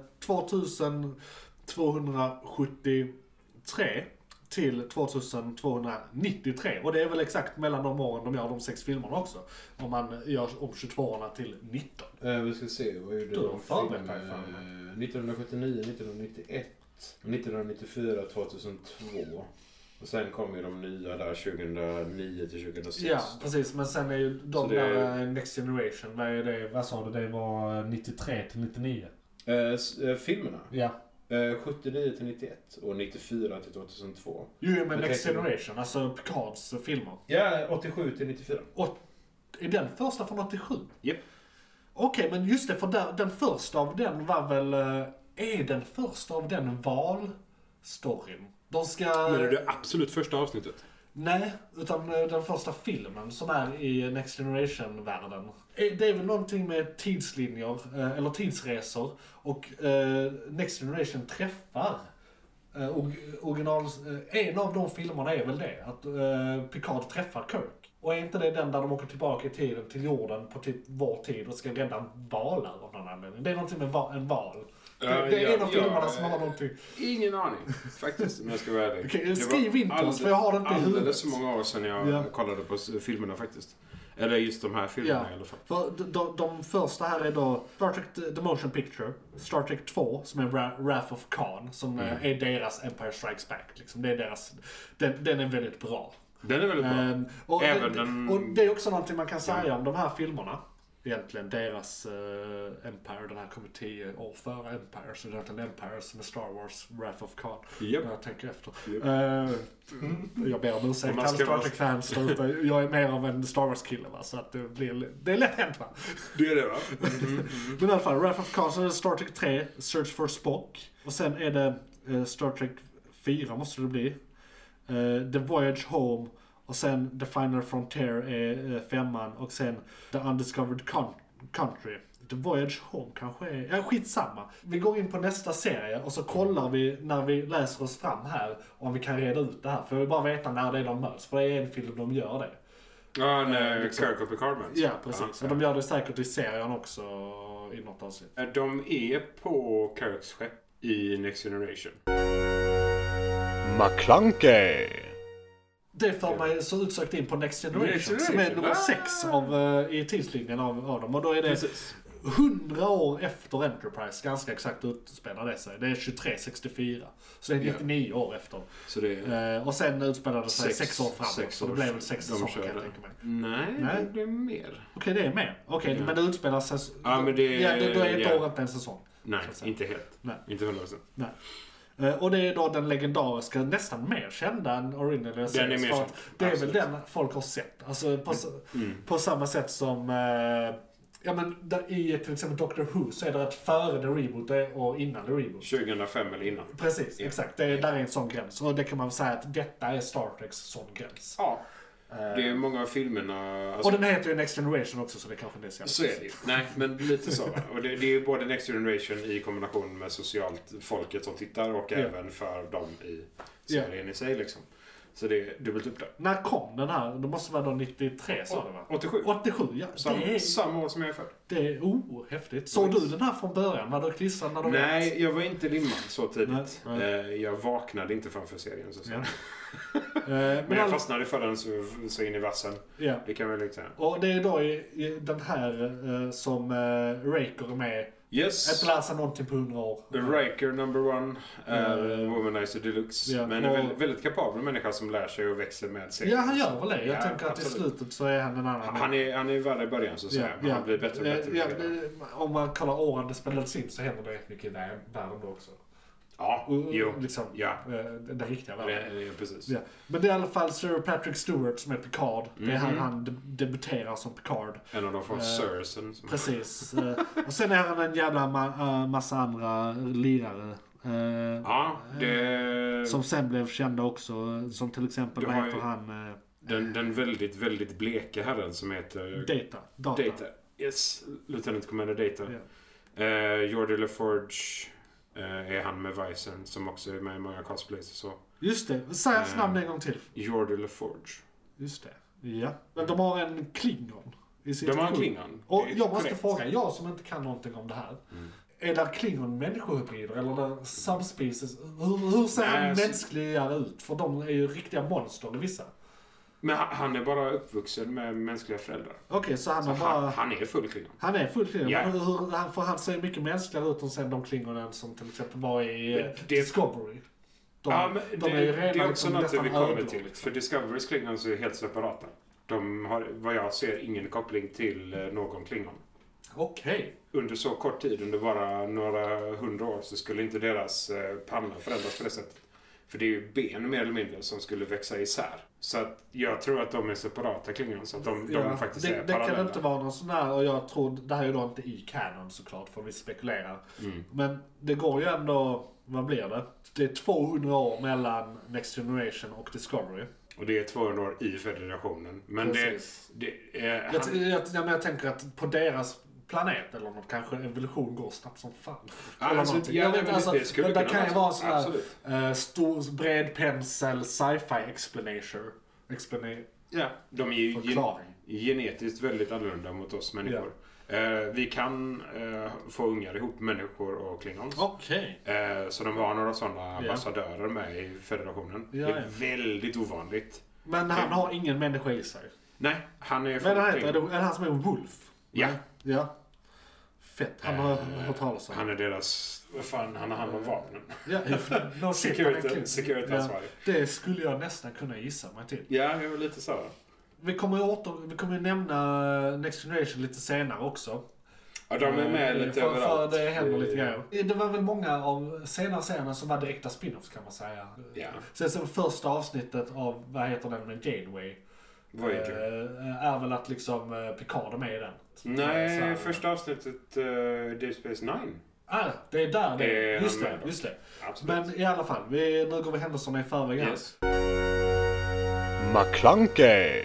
Speaker 1: 2273 till 2293. Och det är väl exakt mellan de åren de gör de sex filmerna också. Om man gör om 22orna till 19.
Speaker 4: Eh, vi ska se, vad gjorde
Speaker 1: Du har
Speaker 4: de
Speaker 1: fan
Speaker 4: film?
Speaker 1: berättat för
Speaker 4: Eh, 1979, 1991, 1994, 2002. Och sen kom ju de nya där 2009 till 2006.
Speaker 1: Ja, precis. Men sen är ju de
Speaker 4: Så det är-
Speaker 1: där eh, Next Generation, vad är det? Vad sa du? Det var 93 till 99?
Speaker 4: Eh, s- eh, filmerna.
Speaker 1: Ja.
Speaker 4: Eh, 79 till 91 och 94 till 2002.
Speaker 1: Jo, jo, men
Speaker 4: Jag
Speaker 1: Next
Speaker 4: tänker-
Speaker 1: Generation, alltså Picards eh, filmer.
Speaker 4: Ja, 87 till 94.
Speaker 1: Och är den första från 87?
Speaker 7: Japp.
Speaker 1: Okej, men just det, för där, den första av den var väl... eh, Är den första av den valstoryn? De ska...
Speaker 7: Men är det absolut första avsnittet?
Speaker 1: Nej, utan eh, den första filmen som är i Next Generation-världen. Eh, Det är väl någonting med tidslinjer, eh, eller tidsresor, och eh, Next Generation träffar. Eh, Och original, eh, en av de filmerna är väl det, att eh, Picard träffar Kirk. Och är inte det den där de åker tillbaka i tiden till jorden på typ vår tid och ska rädda valar av någon anledning? Det är någonting med va- en val. Det,
Speaker 7: Ja,
Speaker 1: det är en
Speaker 7: ja,
Speaker 1: av filmerna
Speaker 7: ja,
Speaker 1: som har
Speaker 7: eh,
Speaker 1: någonting.
Speaker 7: Ingen aning faktiskt, om jag ska vara ärlig.
Speaker 1: Okej,
Speaker 7: Det var
Speaker 1: skriv in till oss, för jag har det inte i
Speaker 7: alldeles-
Speaker 1: huvudet.
Speaker 7: Alldeles så många år sedan jag
Speaker 1: Ja.
Speaker 7: kollade på s- filmerna faktiskt. Eller just de här filmerna
Speaker 1: Ja.
Speaker 7: i alla fall.
Speaker 1: För de, de, de första här är då Star Trek eh, The The Motion Picture, Star Trek 2 som är Wra- Wrath of Khan som
Speaker 7: Mm.
Speaker 1: eh, är deras Empire Strikes Back. Liksom. Det är deras, den, den är väldigt bra.
Speaker 7: Den är väldigt bra.
Speaker 1: Ehm, och,
Speaker 7: Även
Speaker 1: det,
Speaker 7: den-
Speaker 1: och det är också någonting man kan säga om de här filmerna. Egentligen deras eh, Empire, den här kommer tio år före Empire. Så det är egentligen Empire som är Star Wars, Wrath of Khan.
Speaker 7: Japp.
Speaker 1: När jag tänker efter. Ehm, jag ber om
Speaker 7: Om
Speaker 1: ursäkt
Speaker 7: man
Speaker 1: alla
Speaker 7: ska
Speaker 1: Star
Speaker 7: vara-
Speaker 1: Trek-fans där ute. Jag är mer av en Star Wars-kille va. Så att det, blir, det är lätt hänt va.
Speaker 7: Det är det va? Mm-hmm.
Speaker 1: Men i alla fall, Wrath of Khan, sen är det Star Trek 3, Search for Spock. Och sen är det eh, Star Trek 4 måste det bli. Eh, The Voyage Home. Och sen The Final Frontier är eh, femman. Och sen The Undiscovered Con- Country. The Voyage Home kanske är... Ja, skitsamma. Vi går in på nästa serie och så kollar vi när vi läser oss fram här om vi kan reda ut det här. För jag vill bara veta när det är de möts. För det är en film de gör det.
Speaker 7: Ja, när Kirk och Picard möts.
Speaker 1: Eh, Ja, precis.
Speaker 7: Ja.
Speaker 1: Och de gör det säkert i serien också i något avsnitt.
Speaker 7: Eh, De är på Kirks skepp i Next Generation.
Speaker 8: McClunkey,
Speaker 1: Det för mig så utsökt in på Next Generation,
Speaker 7: Next Generation,
Speaker 1: som är nummer
Speaker 7: ah!
Speaker 1: sex av, eh, i tidslinjen av, av dem. Och då är det
Speaker 7: Precis.
Speaker 1: 100 år efter Enterprise, ganska exakt utspelar det sig. Det är 2364. Så det är
Speaker 7: Ja.
Speaker 1: 99 år efter.
Speaker 7: Så det är...
Speaker 1: Eh, och sen utspelade det sig
Speaker 7: Sex-
Speaker 1: sex år framåt.
Speaker 7: sex
Speaker 1: så det
Speaker 7: år
Speaker 1: blev väl sex
Speaker 7: de
Speaker 1: säsonger kan
Speaker 7: körde.
Speaker 1: jag tänka mig.
Speaker 7: Nej,
Speaker 1: Nej.
Speaker 7: det är mer.
Speaker 1: Okej, det är mer. Okej,
Speaker 7: Ja.
Speaker 1: men det utspelar sig...
Speaker 7: Ja, men det-
Speaker 1: ja, det, då är ett
Speaker 7: ja.
Speaker 1: år inte en säsong.
Speaker 7: Nej,
Speaker 1: Så att säga.
Speaker 7: inte helt.
Speaker 1: Nej.
Speaker 7: Inte hundra procent.
Speaker 1: Nej. Eh, Och det är då den legendariska, nästan mer kända än Original
Speaker 7: Den är mer
Speaker 1: för
Speaker 7: känd.
Speaker 1: att Det är väl
Speaker 7: Absolut.
Speaker 1: den folk har sett. Alltså på, s-
Speaker 7: Mm.
Speaker 1: på samma sätt som eh, ja, men där, i till exempel Doctor Who så är det att före the reboot är- och innan the reboot.
Speaker 7: 2005 eller innan.
Speaker 1: Precis, exakt. Det är, där är en sån gräns. Och det kan man väl säga att detta är Star Treks sån gräns. Eh,
Speaker 7: Ja. Det är många av filmerna... alltså-
Speaker 1: Och den heter ju Next Generation också så det kanske inte är så jävla
Speaker 7: Så är det ju. Nej, men lite så. va. Och det, det är ju både Next Generation i kombination med socialt folket som tittar och
Speaker 1: Ja.
Speaker 7: även för dem i
Speaker 1: Ja.
Speaker 7: serien i sig. Liksom. Så det är dubbelt upp där.
Speaker 1: När kom den här? Det måste vara då 93 sa du va?
Speaker 7: 87.
Speaker 1: 87 ja.
Speaker 7: Sam,
Speaker 1: det, är,
Speaker 7: Samma år som jag är född.
Speaker 1: det är oh, häftigt. Såg du den här från början? Var du klistrad när du
Speaker 7: Nej, jag var inte limmad så tidigt.
Speaker 1: Nej, nej.
Speaker 7: Eh, Jag vaknade inte framför serien. Så att säga.
Speaker 1: Ja. Eh, men
Speaker 7: Men
Speaker 1: all-
Speaker 7: jag fastnade för den så, så in i vassen.
Speaker 1: ja.
Speaker 7: Det kan jag väl inte säga.
Speaker 1: Och det är då i, i den här eh, som eh, Raker är med.
Speaker 7: Yes.
Speaker 1: Att lära sig någonting på 100 år.
Speaker 7: Riker number one,
Speaker 1: Mm.
Speaker 7: eh, Womanizer deluxe.
Speaker 1: Ja,
Speaker 7: Men en
Speaker 1: och-
Speaker 7: väldigt, väldigt kapabel människa som lär sig och växer med serien.
Speaker 1: Ja, han gör väl det. Jag
Speaker 7: Ja,
Speaker 1: tänker att i
Speaker 7: absolut.
Speaker 1: slutet så är han en annan.
Speaker 7: Han är, han är värre i början så att säga. men Han blir bättre och
Speaker 1: Eh,
Speaker 7: bättre.
Speaker 1: ja,
Speaker 7: Ja, ja,
Speaker 1: det- om man kollar åren det spelades in så händer det rätt mycket i vär- världen då också. Och-
Speaker 7: jo.
Speaker 1: Liksom,
Speaker 7: Ja,
Speaker 1: eh, den den riktiga
Speaker 7: det,
Speaker 1: världen.
Speaker 7: är- precis.
Speaker 1: Ja. Men det är i alla fall Sir Patrick Stewart som är Picard. Det är
Speaker 7: Mhm.
Speaker 1: han han deb- debuterar som Picard.
Speaker 7: En av de från
Speaker 1: Eh,
Speaker 7: Sörsen. Som...
Speaker 1: Precis. Eh, och sen är han en jävla ma- eh, massa andra lirare. Eh,
Speaker 7: Ja, det...
Speaker 1: Som sen blev kända också. Som till exempel,
Speaker 7: Du
Speaker 1: vad
Speaker 7: har
Speaker 1: heter
Speaker 7: ju-
Speaker 1: han? eh,
Speaker 7: Den, den väldigt, väldigt bleka herren som heter...
Speaker 1: Data. Data.
Speaker 7: Data. Yes, Lieutenant Commander Data.
Speaker 1: Ja.
Speaker 7: Eh, Jordi LaForge eh, är han med Visen som också är med i många cosplays och så.
Speaker 1: Just det. Säg hans
Speaker 7: Eh.
Speaker 1: namn en gång till.
Speaker 7: Jordi LaForge.
Speaker 1: Just det. Ja. Men de har en klingon i sin
Speaker 7: De har en
Speaker 1: skjut.
Speaker 7: klingon.
Speaker 1: Och
Speaker 7: Det är
Speaker 1: jag måste
Speaker 7: korrekt. Mm.
Speaker 1: fråga, jag som inte kan någonting om det här. Är det klingon människohybrider eller är det subspecies? Hur, hur ser
Speaker 7: Nej,
Speaker 1: en
Speaker 7: alltså-
Speaker 1: mänskligare ut? För de är ju riktiga monster vissa.
Speaker 7: Men han- han är bara uppvuxen med mänskliga föräldrar.
Speaker 1: Okej, så han
Speaker 7: Så
Speaker 1: är
Speaker 7: han,
Speaker 1: bara...
Speaker 7: han är full klingon.
Speaker 1: Han är fullt klingon.
Speaker 7: Ja.
Speaker 1: Men hur- hur- han- För han ser mycket mänskligare ut än sen de klingonen som till exempel var i eh,
Speaker 7: Men det-
Speaker 1: Discovery. De,
Speaker 7: ja, men
Speaker 1: de är ju redan
Speaker 7: det är också
Speaker 1: liksom
Speaker 7: något vi
Speaker 1: nästan
Speaker 7: kommer
Speaker 1: ödlor,
Speaker 7: till.
Speaker 1: liksom.
Speaker 7: För Discoverys klingons är helt separata. De har, vad jag ser, ingen koppling till eh, någon klingon.
Speaker 1: Okej.
Speaker 7: Under så kort tid, under bara några hundra år, så skulle inte deras eh, panna förändras på det sättet. För det är ju ben mer eller mindre som skulle växa isär. Så att jag tror att de är separata klingons. Så att de, de faktiskt
Speaker 1: det,
Speaker 7: är
Speaker 1: det
Speaker 7: parallella.
Speaker 1: kan inte vara någon sån här, och jag tror, det här är ju då inte i kanon såklart, för vi spekulerar.
Speaker 7: Mm.
Speaker 1: Men det går ju ändå, vad blir det? Det är 200 år mellan Next Generation och Discovery.
Speaker 7: Och det är 200 år i federationen. Men det...
Speaker 1: Precis.
Speaker 7: det eh,
Speaker 1: Jag,
Speaker 7: han,
Speaker 1: jag, jag, men jag tänker att på deras planet eller något, kanske evolution går snabbt som fan.
Speaker 7: Ja,
Speaker 1: eller
Speaker 7: alltså,
Speaker 1: någonting.
Speaker 7: ja,
Speaker 1: jag
Speaker 7: men
Speaker 1: vet,
Speaker 7: det-
Speaker 1: alltså,
Speaker 7: det skulle
Speaker 1: det, det
Speaker 7: kunna
Speaker 1: kan ju
Speaker 7: vara
Speaker 1: vara
Speaker 7: så.
Speaker 1: sån här
Speaker 7: Absolut.
Speaker 1: eh, stor, bred pensel sci-fi explanation. Explana-
Speaker 7: ja, de är ju gen-
Speaker 1: förklaring.
Speaker 7: genetiskt väldigt annorlunda mot oss människor. Eh, vi kan eh, få ungar ihop, människor och klingons.
Speaker 1: Okej.
Speaker 7: Eh, så de har några sådana
Speaker 1: Ja.
Speaker 7: ambassadörer med i federationen.
Speaker 1: Ja,
Speaker 7: det
Speaker 1: ja.
Speaker 7: är väldigt ovanligt.
Speaker 1: Men han har ingen människa i sig.
Speaker 7: Nej, han är
Speaker 1: Men han
Speaker 7: från
Speaker 1: heter, är
Speaker 7: klingon.
Speaker 1: det är det han som är Wolf?
Speaker 7: Ja. Eh,
Speaker 1: Nej. Ja. Fett, han har jag hört talas om.
Speaker 7: Han är deras... Vad fan, han har hand
Speaker 1: Eh.
Speaker 7: om vapnen. [LAUGHS]
Speaker 1: Ja, no shit, han är
Speaker 7: Security-
Speaker 1: kul.
Speaker 7: security-ansvarig.
Speaker 1: Ja, det skulle jag nästan kunna gissa mig till.
Speaker 7: Ja, jag är lite så. här.
Speaker 1: Vi kommer ju, åter, vi kommer ju nämna Next Generation lite senare också.
Speaker 7: Ja, de är med
Speaker 1: Eh,
Speaker 7: lite
Speaker 1: för,
Speaker 7: överallt.
Speaker 1: För det händer lite grejer. Eh, Det var väl många av senare serierna som var direkta spin-offs kan man säga.
Speaker 7: Ja.
Speaker 1: Sen så första avsnittet av, vad heter den med Janeway?
Speaker 7: Voyager.
Speaker 1: eh, Är väl att liksom eh, Picard är med i den. Eh, Så här,
Speaker 7: Nej, första avsnittet eh, Deep Space Nine.
Speaker 1: Ah, det är där det
Speaker 7: Eh,
Speaker 1: är. Just
Speaker 7: han
Speaker 1: det,
Speaker 7: med.
Speaker 1: just det.
Speaker 7: Absolut.
Speaker 1: Men i alla fall, vi, nu går vi händelserna i förväg här.
Speaker 7: Yes.
Speaker 8: McClunkey,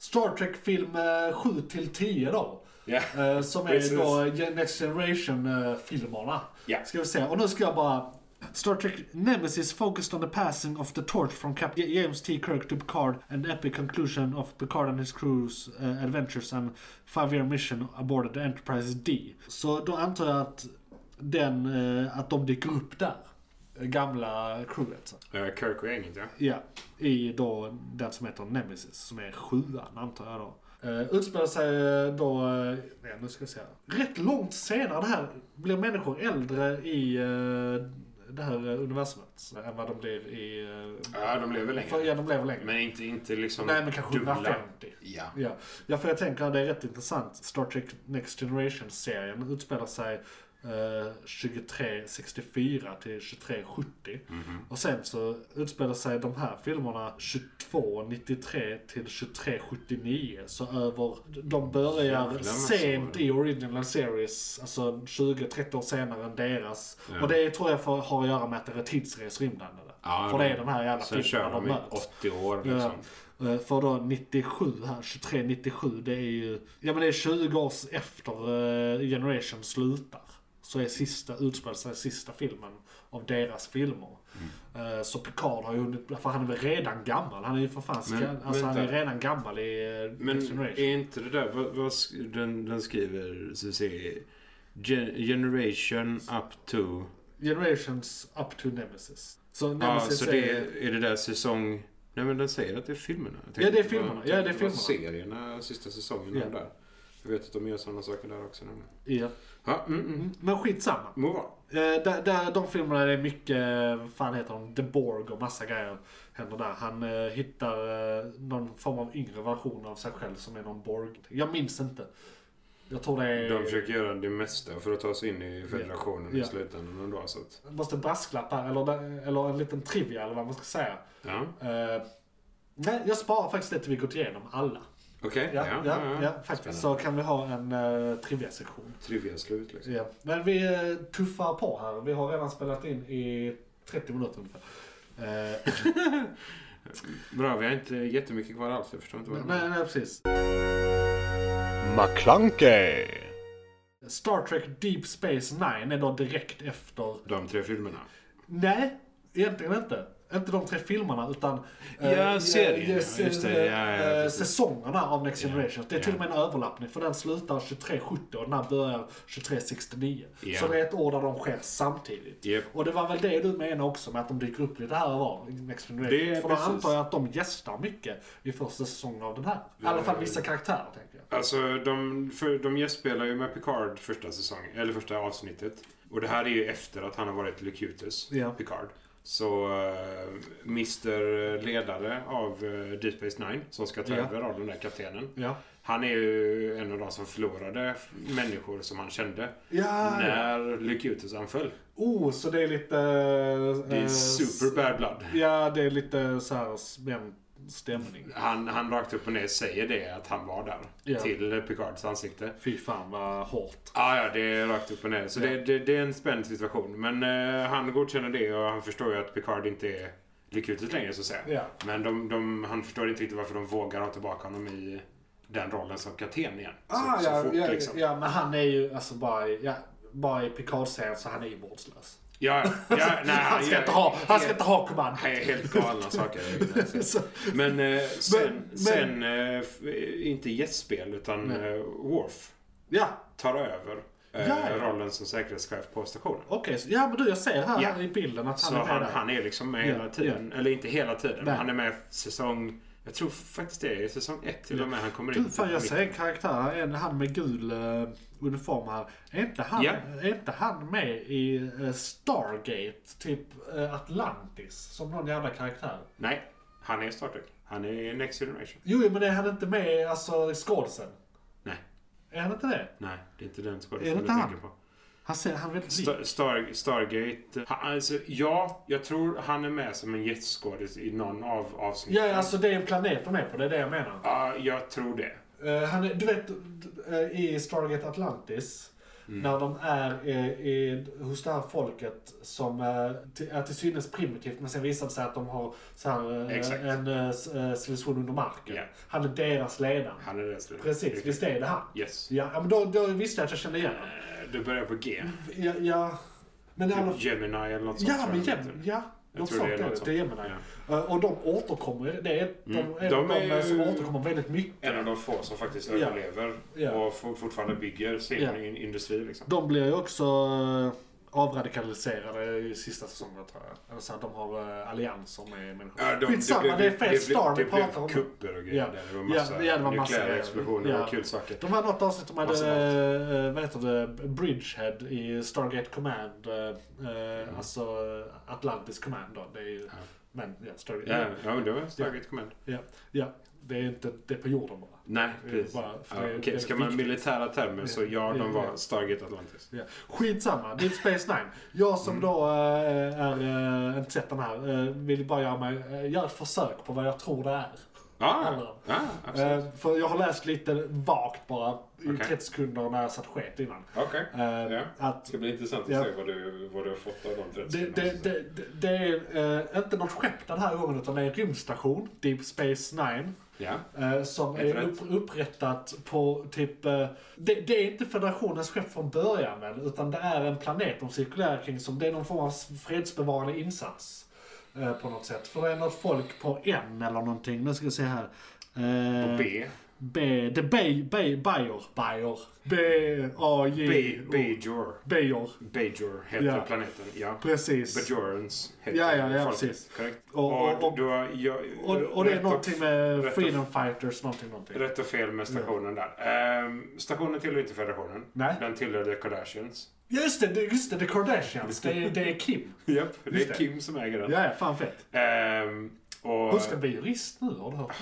Speaker 1: Star Trek film eh, 7 till 10 då.
Speaker 7: Ja.
Speaker 1: Eh, Som är
Speaker 7: Precis.
Speaker 1: ju då Gen- Next Generation eh, filmerna.
Speaker 7: Ja.
Speaker 1: Ska vi se, och nu ska jag bara... Star Trek Nemesis focused on the passing of the torch from Captain James T. Kirk to Picard and epic conclusion of Picard and his crew's eh, adventures and five year mission aboard the Enterprise D. Så då antar jag att, den, eh, att de dyker upp där. eh, Gamla crewet. Så.
Speaker 7: Eh, Kirk och gänget, ja.
Speaker 1: Ja, i då den som heter Nemesis, som är sjuan antar jag då. Uh, utspelar sig eh, då, eh, nej, nu ska jag säga, rätt långt senare det här blir människor äldre i eh, det här eh, universumet än vad de blir i... eh,
Speaker 7: Ja, de lever
Speaker 1: för,
Speaker 7: längre.
Speaker 1: ja, de lever längre.
Speaker 7: Men inte, inte liksom
Speaker 1: nej, men kanske
Speaker 7: dubbla.
Speaker 1: 150.
Speaker 7: Ja.
Speaker 1: Ja. ja, för jag tänker att det är rätt intressant. Star Trek Next Generation-serien utspelar sig eh, 2364 till 2370. Och sen så utspelar sig de här filmerna 2293 till 2379. Så över, de börjar
Speaker 7: massa
Speaker 1: sent i original series, alltså 20-30 år senare än deras.
Speaker 7: Ja.
Speaker 1: Och det tror jag för, har att göra med att det är tidsresor inblandade.
Speaker 7: Ja,
Speaker 1: för det är de här jävla
Speaker 7: Sen
Speaker 1: filmerna
Speaker 7: kör de i
Speaker 1: möts.
Speaker 7: 80 år liksom.
Speaker 1: Eh, För då 97 här, 23, 97, det är ju, ja men det är 20 år efter eh, Generation slutar. Så är sista, utspelar sig sista filmen av deras filmer.
Speaker 7: Mm.
Speaker 1: Eh, Så Picard har ju hunnit, för han är väl redan gammal, han är ju för fan,
Speaker 7: Men-
Speaker 1: ska- alltså han är
Speaker 7: vänta.
Speaker 1: redan gammal i eh,
Speaker 7: Men
Speaker 1: Next Generation.
Speaker 7: är inte det där, vad, vad sk- den, den skriver, så se, gen, generation up to...
Speaker 1: Generations up to Nemesis. Så
Speaker 7: Ja,
Speaker 1: Nemesis
Speaker 7: Ah, så det
Speaker 1: är...
Speaker 7: är, är det där säsong... Nej men den säger att det är filmerna. Jag
Speaker 1: Ja, det är
Speaker 7: tänkte
Speaker 1: filmerna.
Speaker 7: bara-
Speaker 1: Ja, det är
Speaker 7: tänkte
Speaker 1: filmerna.
Speaker 7: bara Serierna, sista säsongen
Speaker 1: Ja.
Speaker 7: yeah. där. Jag vet att de gör sådana saker där också nämligen.
Speaker 1: Ja.
Speaker 7: Ja, mm, mm.
Speaker 1: Men skitsamma.
Speaker 7: Må vara.
Speaker 1: Eh, där, där, de filmerna är mycket, vad fan heter de, The Borg och massa grejer händer där. Han eh, hittar eh, någon form av yngre version av sig själv som är någon Borg. Jag minns inte. Jag tror det är...
Speaker 7: De försöker göra det mesta för att ta sig in i federationen
Speaker 1: Ja.
Speaker 7: i slutändan ändå. Så att,
Speaker 1: Jag måste brasklappa, eller, eller en liten trivia eller vad man ska säga.
Speaker 7: ja.
Speaker 1: Eh, nej, jag sparar faktiskt det till vi gått igenom alla.
Speaker 7: Okej.
Speaker 1: Ja, ja, ja, faktiskt. Så kan vi ha en eh, trivia-sektion.
Speaker 7: Trivia-slut liksom.
Speaker 1: Ja. Men vi eh, tuffar på här. Vi har redan spelat in i 30 minuter ungefär. Eh,
Speaker 7: Bra, vi har inte jättemycket kvar alls. Jag förstår inte vad det
Speaker 1: nej, nej, precis.
Speaker 8: McClunkey,
Speaker 1: Star Trek Deep Space Nine är då direkt efter...
Speaker 7: De tre filmerna.
Speaker 1: Nej, egentligen inte. Inte de tre filmerna utan eh,
Speaker 7: Ja, serien,
Speaker 1: eh,
Speaker 7: ja, just det. Ja, ja,
Speaker 1: eh,
Speaker 7: precis.
Speaker 1: säsongerna av Next
Speaker 7: Ja,
Speaker 1: Generation. Det är till
Speaker 7: ja.
Speaker 1: och med en överlappning för den slutar 2370 och den här börjar 2369.
Speaker 7: Ja.
Speaker 1: Så det är ett år där de sker samtidigt.
Speaker 7: Japp.
Speaker 1: Och det var väl det du menade också med att de dyker upp lite här och var. liksom, i Next Generation.
Speaker 7: Det är
Speaker 1: för då
Speaker 7: precis.
Speaker 1: antar jag att de gästar mycket i första säsongen av den här. I alla fall vissa karaktärer tänker jag.
Speaker 7: Alltså, de, för, de gästspelar ju med Picard första säsongen, eller första avsnittet. Och det här är ju efter att han har varit Locutus,
Speaker 1: Ja.
Speaker 7: Picard. Så eh, Mr Ledare av eh, Deep Space Nine, som ska ta
Speaker 1: Ja.
Speaker 7: över av den där kaptenen.
Speaker 1: Ja.
Speaker 7: Han är ju en av de som förlorade människor som han kände
Speaker 1: Ah, Ja,
Speaker 7: när Locutus anföll.
Speaker 1: Oh, så det är lite...
Speaker 7: Det
Speaker 1: Eh,
Speaker 7: är super bad blood.
Speaker 1: Ja, det är lite så här spänd stämning.
Speaker 7: Han, han rakt upp och ner säger det, att han var där.
Speaker 1: Ja.
Speaker 7: Till eh, Picards ansikte.
Speaker 1: Fy fan vad hårt.
Speaker 7: Ah, ja, det är rakt upp och ner. Så
Speaker 1: Ja.
Speaker 7: det, det, det är en spänd situation. Men eh, han godkänner det och han förstår ju att Picard inte är lyckligt längre så att säga.
Speaker 1: Ja.
Speaker 7: Men de, de, han förstår inte riktigt varför de vågar ha tillbaka honom i den rollen som kapten igen. Så,
Speaker 1: Ah,
Speaker 7: så
Speaker 1: ja,
Speaker 7: fort
Speaker 1: ja,
Speaker 7: liksom. Ja,
Speaker 1: ja, men han är ju alltså bara i, ja, bara i Picard-serien så han är ju vårdslös.
Speaker 7: ja, ja, nej,
Speaker 1: [LAUGHS] Han ska
Speaker 7: gör-
Speaker 1: inte ha, han ska inte ha kommando.
Speaker 7: Han är helt galna saker.
Speaker 1: [LAUGHS] Så-
Speaker 7: Men eh, sen,
Speaker 1: men-
Speaker 7: sen eh, f- inte gästspel utan eh, Worf
Speaker 1: Ja,
Speaker 7: tar över eh,
Speaker 1: Ja, ja.
Speaker 7: rollen som säkerhetschef på stationen.
Speaker 1: okej. så- Ja, men du, jag ser här
Speaker 7: Ja.
Speaker 1: i bilden att
Speaker 7: Så
Speaker 1: han är med
Speaker 7: han,
Speaker 1: där.
Speaker 7: han är liksom med
Speaker 1: Ja,
Speaker 7: hela tiden. Eller inte hela tiden.
Speaker 1: Nej.
Speaker 7: Han är med säsong... Jag tror faktiskt det är säsong ett till och med han kommer in.
Speaker 1: Du, fan jag ser en karaktär här, en han med gul eh, uniform här. Är inte han,
Speaker 7: Ja.
Speaker 1: är inte han med i eh, Stargate, typ eh, Atlantis, som någon jävla karaktär?
Speaker 7: Nej, han är Star Trek. Han är Next Generation.
Speaker 1: Jo, men är han inte med i, alltså, i skådisen?
Speaker 7: Nej,
Speaker 1: Är han inte det?
Speaker 7: nej. Det är inte den
Speaker 1: Är det
Speaker 7: skådespelaren
Speaker 1: inte
Speaker 7: jag
Speaker 1: han?
Speaker 7: tänker på.
Speaker 1: Han ser, han är väldigt lik.
Speaker 7: Star, Star, Stargate. Han, alltså, ja, jag tror han är med som en gästskådis i någon av avsnitten.
Speaker 1: Ja, alltså det är en planet de är på, det är det jag menar.
Speaker 7: Ja, jag tror det.
Speaker 1: Eh, han är, du vet, d- eh, i Stargate Atlantis,
Speaker 7: Mm.
Speaker 1: när de är eh, i, hos det här folket som eh, till, är till synes primitivt, men sen visar det sig att de har så här, eh,
Speaker 7: Exakt.
Speaker 1: en eh, s- eh, civilisation under marken.
Speaker 7: Ja.
Speaker 1: Han är deras ledare.
Speaker 7: Han är den
Speaker 1: Precis, visst är det han?
Speaker 7: Yes.
Speaker 1: Ja, ja, men då, då visste jag att jag kände igen honom.
Speaker 7: Eh, Du börjar på G.
Speaker 1: Ja, ja. Men i alla
Speaker 7: Typ Gemini eller något sånt.
Speaker 1: Ja,
Speaker 7: tror
Speaker 1: men
Speaker 7: jag
Speaker 1: Gem,
Speaker 7: han heter.
Speaker 1: ja.
Speaker 7: Jag
Speaker 1: Något
Speaker 7: tror
Speaker 1: sånt
Speaker 7: det
Speaker 1: är
Speaker 7: är något
Speaker 1: det.
Speaker 7: sånt.
Speaker 1: Det är Gemini. Eh, Och de återkommer. Det är de,
Speaker 7: Mm.
Speaker 1: är
Speaker 7: De
Speaker 1: de,
Speaker 7: är ju-
Speaker 1: som återkommer väldigt mycket.
Speaker 7: En av de få som faktiskt
Speaker 1: Ja.
Speaker 7: överlever
Speaker 1: Ja.
Speaker 7: och for- fortfarande bygger sin
Speaker 1: Ja.
Speaker 7: in- industri. Liksom.
Speaker 1: De blir ju också eh, avradikaliserade i sista säsongen tror jag. Eller så att de har eh, allianser med människor.
Speaker 7: Ja, de-
Speaker 1: Skitsamma, det,
Speaker 7: blev-
Speaker 1: är fel Star vi
Speaker 7: Det blev,
Speaker 1: pratar
Speaker 7: det
Speaker 1: om.
Speaker 7: blev kupper och
Speaker 1: Ja.
Speaker 7: grejer. där. Det var massa
Speaker 1: Ja, ja, det var massa
Speaker 7: nukleära
Speaker 1: grejer.
Speaker 7: explosioner
Speaker 1: Ja.
Speaker 7: och kul saker.
Speaker 1: De hade något avsnitt, de
Speaker 7: Massa
Speaker 1: hade, eh, vad heter det, Bridgehead i Stargate Command. eh, eh,
Speaker 7: Mm.
Speaker 1: Alltså Atlantis Command då. Det är ju, men ja, Stargate.
Speaker 7: Ja, ja, men det var Stargate Command.
Speaker 1: Mm. Ja, ja, det är inte det är på jorden bara.
Speaker 7: Nej,
Speaker 1: Det är
Speaker 7: precis.
Speaker 1: bara-
Speaker 7: Ja,
Speaker 1: för det är
Speaker 7: Okej,
Speaker 1: väldigt
Speaker 7: ska man ha
Speaker 1: viktigt.
Speaker 7: militära termer så ja,
Speaker 1: Ja,
Speaker 7: de var
Speaker 1: ja.
Speaker 7: Stargate Atlantis.
Speaker 1: Ja. Skitsamma, Deep Space Nine. Jag som
Speaker 7: Mm.
Speaker 1: då eh, är, eh, inte sett den här, eh, vill bara göra, mig, eh, göra ett försök på vad jag tror det är.
Speaker 7: Ja,
Speaker 1: Alla.
Speaker 7: ja, absolut.
Speaker 1: Eh, för jag har läst lite vagt bara, i
Speaker 7: Okej.
Speaker 1: 30 sekunder när jag satt sket innan.
Speaker 4: Okej.
Speaker 1: Eh,
Speaker 4: Ja. Det
Speaker 1: Att
Speaker 4: ska bli intressant att
Speaker 1: Ja.
Speaker 4: se vad du, vad du har fått av de 30
Speaker 1: det, det, det, det, det är eh, inte något skepp den här gången utan det är en rymdstation, Deep Space Nine.
Speaker 7: Ja.
Speaker 1: Eh, som
Speaker 7: Helt
Speaker 1: är
Speaker 7: rätt.
Speaker 1: upp, upprättat på typ... Eh, det, det är inte federationens skepp från början väl, utan det är en planet de cirkulerar kring som det är någon form av fredsbevarande insats. Eh, på något sätt. För det är något folk på N eller någonting. Nu ska vi se här. Eh,
Speaker 7: Och B.
Speaker 1: B. The Bay... Bay... Bayer. Bayer. B... A... J...
Speaker 7: B.
Speaker 1: O.
Speaker 7: Bajor.
Speaker 1: Bayer.
Speaker 7: Bajor heter
Speaker 1: Ja.
Speaker 7: planeten. Ja.
Speaker 1: Precis.
Speaker 7: Bajorans heter
Speaker 1: Ja, ja, ja,
Speaker 7: folket.
Speaker 1: precis.
Speaker 7: Korrekt.
Speaker 1: Och-
Speaker 7: Och,
Speaker 1: och- och-
Speaker 7: du har... jag-
Speaker 1: Och, och det
Speaker 7: rätt
Speaker 1: är
Speaker 7: och-
Speaker 1: någonting med
Speaker 7: rätt
Speaker 1: Freedom Fighters någonting, någonting.
Speaker 7: Rätt och fel med stationen där. Ehm, stationen tillhör inte Federationen.
Speaker 1: Nej.
Speaker 7: Den tillhör The Kardashians.
Speaker 1: [LAUGHS] Just det, det- just det, The Kardashians. Det är, det är Kim.
Speaker 7: Japp, det
Speaker 1: Just
Speaker 7: är
Speaker 1: det.
Speaker 7: Kim som äger den.
Speaker 1: Ja, ja, fan fett.
Speaker 7: Ehm, och
Speaker 1: Hon ska bli jurist nu, har du hört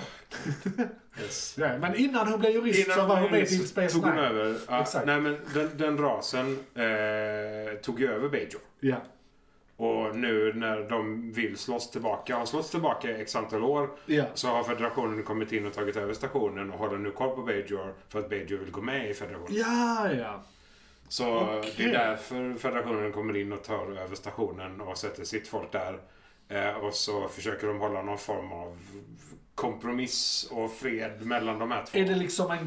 Speaker 1: det?
Speaker 7: Yes.
Speaker 1: Ja, men innan hon blev jurist så
Speaker 7: Innan
Speaker 1: var hon
Speaker 7: hon
Speaker 1: med i
Speaker 7: ens
Speaker 1: Deep Space
Speaker 7: tog hon
Speaker 1: Nine.
Speaker 7: över. Ja,
Speaker 1: Exakt.
Speaker 7: nej, men den, den rasen eh, tog ju över Bajor.
Speaker 1: Ja.
Speaker 7: Och nu när de vill slåss tillbaka, har slåss tillbaka i x antal år,
Speaker 1: Ja.
Speaker 7: så har federationen kommit in och tagit över stationen och håller nu koll på Bajor för att Bajor vill gå med i federationen.
Speaker 1: ja, ja.
Speaker 7: Så
Speaker 1: Okej.
Speaker 7: det är därför federationen kommer in och tar över stationen och sätter sitt folk där. Eh, och så försöker de hålla någon form av kompromiss och fred mellan de här två.
Speaker 1: Är det liksom en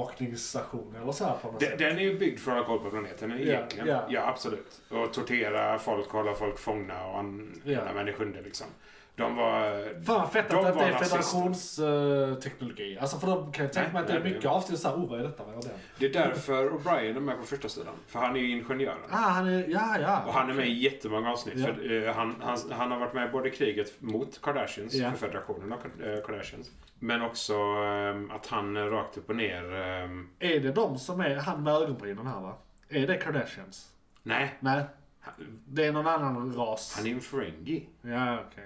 Speaker 1: gränsbevakningsstation eller så här på något
Speaker 7: Den,
Speaker 1: sätt?
Speaker 7: den är ju byggd för att ha koll på planeten
Speaker 1: Ja,
Speaker 7: egentligen.
Speaker 1: ja.
Speaker 7: Ja, absolut. Och tortera folk, hålla folk fångna och använda
Speaker 1: Ja.
Speaker 7: människor under liksom. De var...
Speaker 1: Fan vad fett
Speaker 7: de
Speaker 1: att det inte
Speaker 7: var
Speaker 1: är
Speaker 7: rasister.
Speaker 1: federationsteknologi. Alltså för då kan jag tänka
Speaker 7: Nej,
Speaker 1: mig att det är
Speaker 7: nej,
Speaker 1: mycket
Speaker 7: nej.
Speaker 1: avsnitt såhär, oh vad är detta, vad är det?
Speaker 7: Det är därför O'Brien är med på första sidan. För han är ju ingenjören.
Speaker 1: Ah, han är, ja ja.
Speaker 7: Och han är med i jättemånga avsnitt.
Speaker 1: Ja.
Speaker 7: För, eh, han, han, han har varit med både i kriget mot Kardashians,
Speaker 1: Ja.
Speaker 7: för federationen av Kar- eh, Kardashians. Men också eh, att han eh, rakt upp och ner... eh,
Speaker 1: Är det de som är han med ögonbrynen här va? Är det Kardashians?
Speaker 7: nej,
Speaker 1: Nej,
Speaker 7: han,
Speaker 1: det är någon annan ras.
Speaker 7: han är en fringy.
Speaker 1: Ja, okej.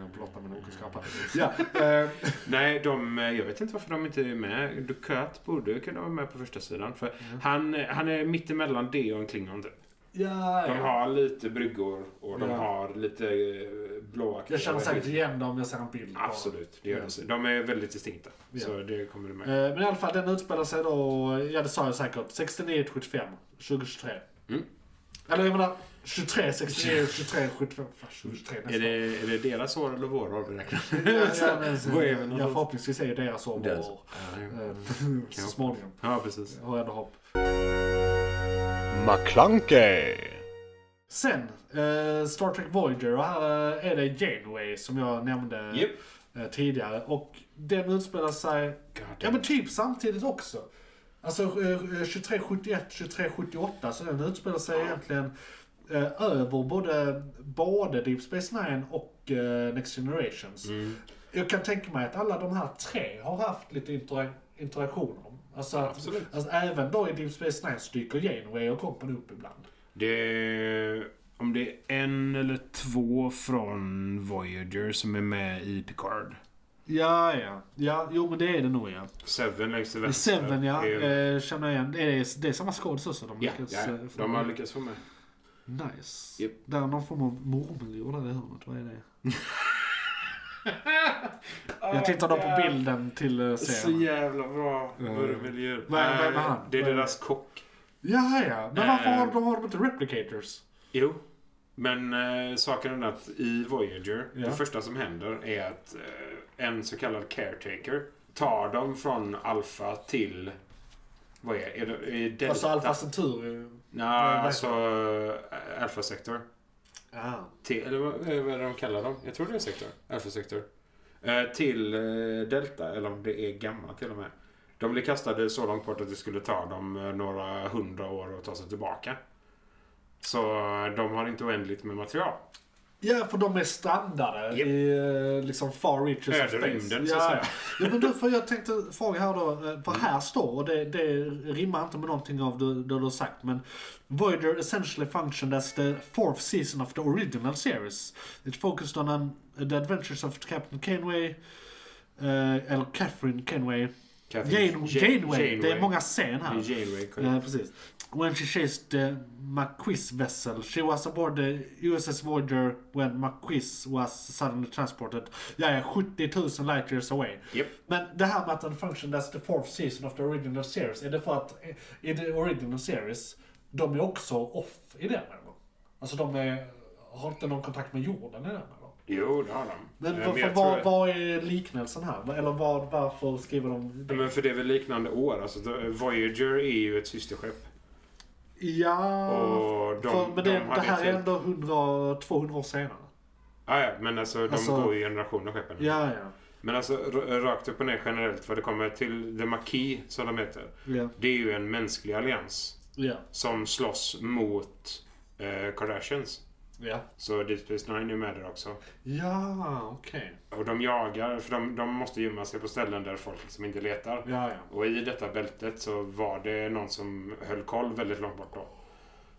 Speaker 1: Jag blottar min okunskap
Speaker 7: [LAUGHS]
Speaker 1: här. Ja, eh,
Speaker 7: Nej, de, eh, jag vet inte varför de inte är med. Ducat borde kunna vara med på första sidan. För han, eh, han är mittemellan det och en klingon typ.
Speaker 1: ja,
Speaker 7: De
Speaker 1: ja.
Speaker 7: har lite bryggor och de
Speaker 1: Ja.
Speaker 7: har lite eh, blåa
Speaker 1: Jag känner säkert igen dem om jag ser en bild på dem.
Speaker 7: Absolut, det gör
Speaker 1: Ja.
Speaker 7: det. De är väldigt distinkta.
Speaker 1: Ja.
Speaker 7: Så det kommer du
Speaker 1: Eh,
Speaker 7: med.
Speaker 1: Men i alla fall, den utspelar sig då, ja det sa jag säkert, 69 till 75, 2023.
Speaker 7: Mm.
Speaker 1: Eller jag menar, 23, 69, 23, 75, fan, 23 nästa.
Speaker 7: Är det, är det deras år eller vår ålder? [LAUGHS]
Speaker 1: Ja, ja, men, så-
Speaker 7: Vad är vi
Speaker 1: ja,
Speaker 7: någonstans?
Speaker 1: förhoppningsvis är deras år
Speaker 7: Deras.
Speaker 1: vår. Eh, [LAUGHS] Så småningom.
Speaker 7: Ja, precis.
Speaker 1: Har jag ändå hopp.
Speaker 8: McClunkey.
Speaker 1: Sen, eh, Star Trek Voyager. Och här eh, är det Janeway som jag nämnde
Speaker 7: Japp.
Speaker 1: eh, tidigare. Och den utspelar sig
Speaker 7: God
Speaker 1: ja, men typ samtidigt också. Alltså eh, 2371, 2378. Så den utspelar sig egentligen eh, över både, både Deep Space Nine och eh, Next Generations. Jag kan tänka mig att alla de här tre har haft lite intera- interaktioner. Alltså, att,
Speaker 7: Absolut.
Speaker 1: alltså även då i Deep Space Nine så dyker Janeway och Company upp ibland.
Speaker 7: Det, om det är en eller två från Voyager som är med i Picard.
Speaker 1: Ja, ja. ja jo, men det är det nog ja.
Speaker 7: Seven längst till
Speaker 1: Det är
Speaker 7: vänster.
Speaker 1: Seven ja,
Speaker 7: Är-
Speaker 1: eh, känner jag igen. Det är, det är samma skådis också. De
Speaker 7: Ja,
Speaker 1: lyckats,
Speaker 7: ja,
Speaker 1: eh,
Speaker 7: ja.
Speaker 1: få
Speaker 7: de har
Speaker 1: med.
Speaker 7: lyckats få med.
Speaker 1: Nice.
Speaker 7: Japp.
Speaker 1: Där är någon form av murmeljord där i hörnet. Vad är
Speaker 7: [LAUGHS]
Speaker 1: det? jag tittar då på bilden till eh,
Speaker 7: Så
Speaker 1: serien.
Speaker 7: jävla bra murmeljör.
Speaker 1: Eh, Vad är- vad är
Speaker 7: Nej,
Speaker 1: han?
Speaker 7: Det är
Speaker 1: Vad är
Speaker 7: deras kock.
Speaker 1: Ja, ja. Men varför
Speaker 7: Eh.
Speaker 1: har de, har de inte replicators?
Speaker 7: Jo. Men eh, saken är den att i Voyager,
Speaker 1: Ja.
Speaker 7: det första som händer är att eh, en så kallad caretaker tar dem från Alpha till... Vad är, är det? Är Delta?
Speaker 1: Alltså Alpha Centauri.
Speaker 7: Nej,
Speaker 1: vad heter
Speaker 7: alltså eh, Alpha Sector.
Speaker 1: Ja.
Speaker 7: Till, eller vad, eh, vad är det de kallar dem? Jag tror det är Sector. Alpha Sector. Eh, till eh, Delta, eller om det är Gamma till och med. De blev kastade så långt bort att det skulle ta dem eh, några hundra år att ta sig tillbaka. Så eh, de har inte oändligt med material.
Speaker 1: Ja, för de är standardare
Speaker 7: Japp.
Speaker 1: i eh, liksom far reaches
Speaker 7: Öde rymden, så att
Speaker 1: ja,
Speaker 7: säga.
Speaker 1: ja, men du, för jag tänkte fråga här då. eh, För här står, och det, det rimmar inte med någonting av det, det du har sagt, men Voyager essentially functioned as the fourth season of the original series. It focused on an, the adventures of Captain Kenway, eh, eller Catherine Kenway. Jane, Janeway. Det är många scen
Speaker 7: Det
Speaker 1: här.
Speaker 7: är Janeway,
Speaker 1: Ja,
Speaker 7: korrekt.
Speaker 1: precis. When she chased the McQuiss vessel, she was aboard the USS Voyager when McQuiss was suddenly transported. Ja, ja, 70 000 light years away.
Speaker 7: Japp.
Speaker 1: Men det här med att den functioned as the fourth season of the original series, är det för att eh, i the original series, de är också off i den eller? Alltså de är, har inte någon kontakt med jorden i den eller?
Speaker 7: Jo, det har de.
Speaker 1: Men,
Speaker 7: Eh,
Speaker 1: vad-
Speaker 7: jag tror-
Speaker 1: vad, vad är liknelsen här? Eller vad, varför skriver de
Speaker 7: Ja,
Speaker 1: det?
Speaker 7: Men för det är väl liknande år. Alltså, då- Voyager är ju ett systerskepp.
Speaker 1: Ja...
Speaker 7: Och de,
Speaker 1: Ah, För, men det,
Speaker 7: de
Speaker 1: det
Speaker 7: hade
Speaker 1: här
Speaker 7: ju
Speaker 1: är
Speaker 7: till-
Speaker 1: ändå 100, 200 år senare.
Speaker 7: Ja, ja, men alltså de
Speaker 1: Alltså-
Speaker 7: går ju i generationer skeppen.
Speaker 1: Ja, ja.
Speaker 7: Men alltså r- rakt upp och ner generellt vad det kommer till The Maquis som de heter.
Speaker 1: Ja.
Speaker 7: Det är ju en mänsklig allians
Speaker 1: Ja.
Speaker 7: som slåss mot eh, Kardashians.
Speaker 1: Ja,
Speaker 7: Så Deep Space Nine är med där också.
Speaker 1: ja okej.
Speaker 7: Och de jagar, för de, de måste gömma sig på ställen där folk liksom inte letar.
Speaker 1: Ja, ja.
Speaker 7: Och i detta bältet så var det någon som höll koll väldigt långt bort då.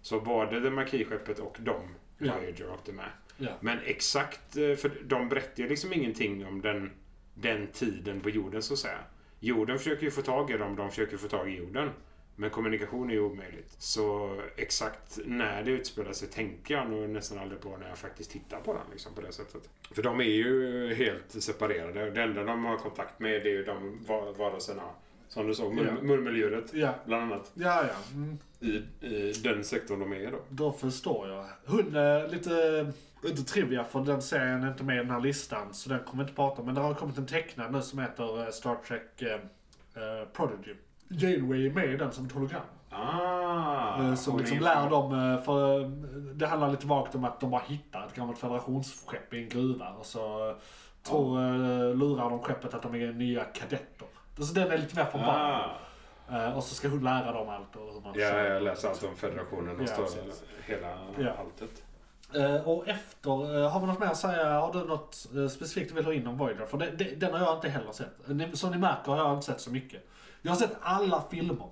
Speaker 7: Så både det Marquis-skeppet och de
Speaker 1: Ja.
Speaker 7: Voyager åkte med.
Speaker 1: Ja.
Speaker 7: Men exakt, eh, för de berättar ju liksom ingenting om den, den tiden på jorden så att säga. Jorden försöker ju få tag i dem, de försöker få tag i jorden. Men kommunikation är ju omöjligt. Så exakt när det utspelar sig tänker jag nog nästan aldrig på när jag faktiskt tittar på den liksom, på det sättet. För de är ju helt separerade. Det enda de har kontakt med det är ju de var- varelserna Som du sa, mur-
Speaker 1: Ja.
Speaker 7: murmeldjuret.
Speaker 1: Ja,
Speaker 7: Bland annat
Speaker 1: ja, ja. Mm.
Speaker 7: i, i den sektorn de är i då.
Speaker 1: Då förstår jag. Hon, eh, lite, inte trivia för den serien är inte med i den här listan så den kommer vi inte prata om. Men det har kommit en tecknad nu som heter eh, Star Trek eh, eh, Prodigy. Janeway är med i den Eh, som ett hologram.
Speaker 7: Ah,
Speaker 1: eh, som
Speaker 7: hon
Speaker 1: liksom
Speaker 7: är-
Speaker 1: lär dem, eh, för eh, det handlar lite vagt om att de bara hittar ett gammalt federationsskepp i en gruva och så eh, tror, eh, lurar de skeppet att de är nya kadetter. Så den är lite mer för barn.
Speaker 7: Ah.
Speaker 1: Eh, och så ska hon lära dem allt och hur man
Speaker 7: Ja,
Speaker 1: försöker.
Speaker 7: jag läser allt om federationen
Speaker 1: Ja,
Speaker 7: och står
Speaker 1: precis.
Speaker 7: hela
Speaker 1: Ja.
Speaker 7: alltet. [LAUGHS]
Speaker 1: Eh, och efter, eh, har vi något mer att säga? Har du något eh, specifikt du vill ha in om Voyager? För det, det, den har jag inte heller sett. Ni, som ni märker har jag inte sett så mycket. Jag har sett alla filmer.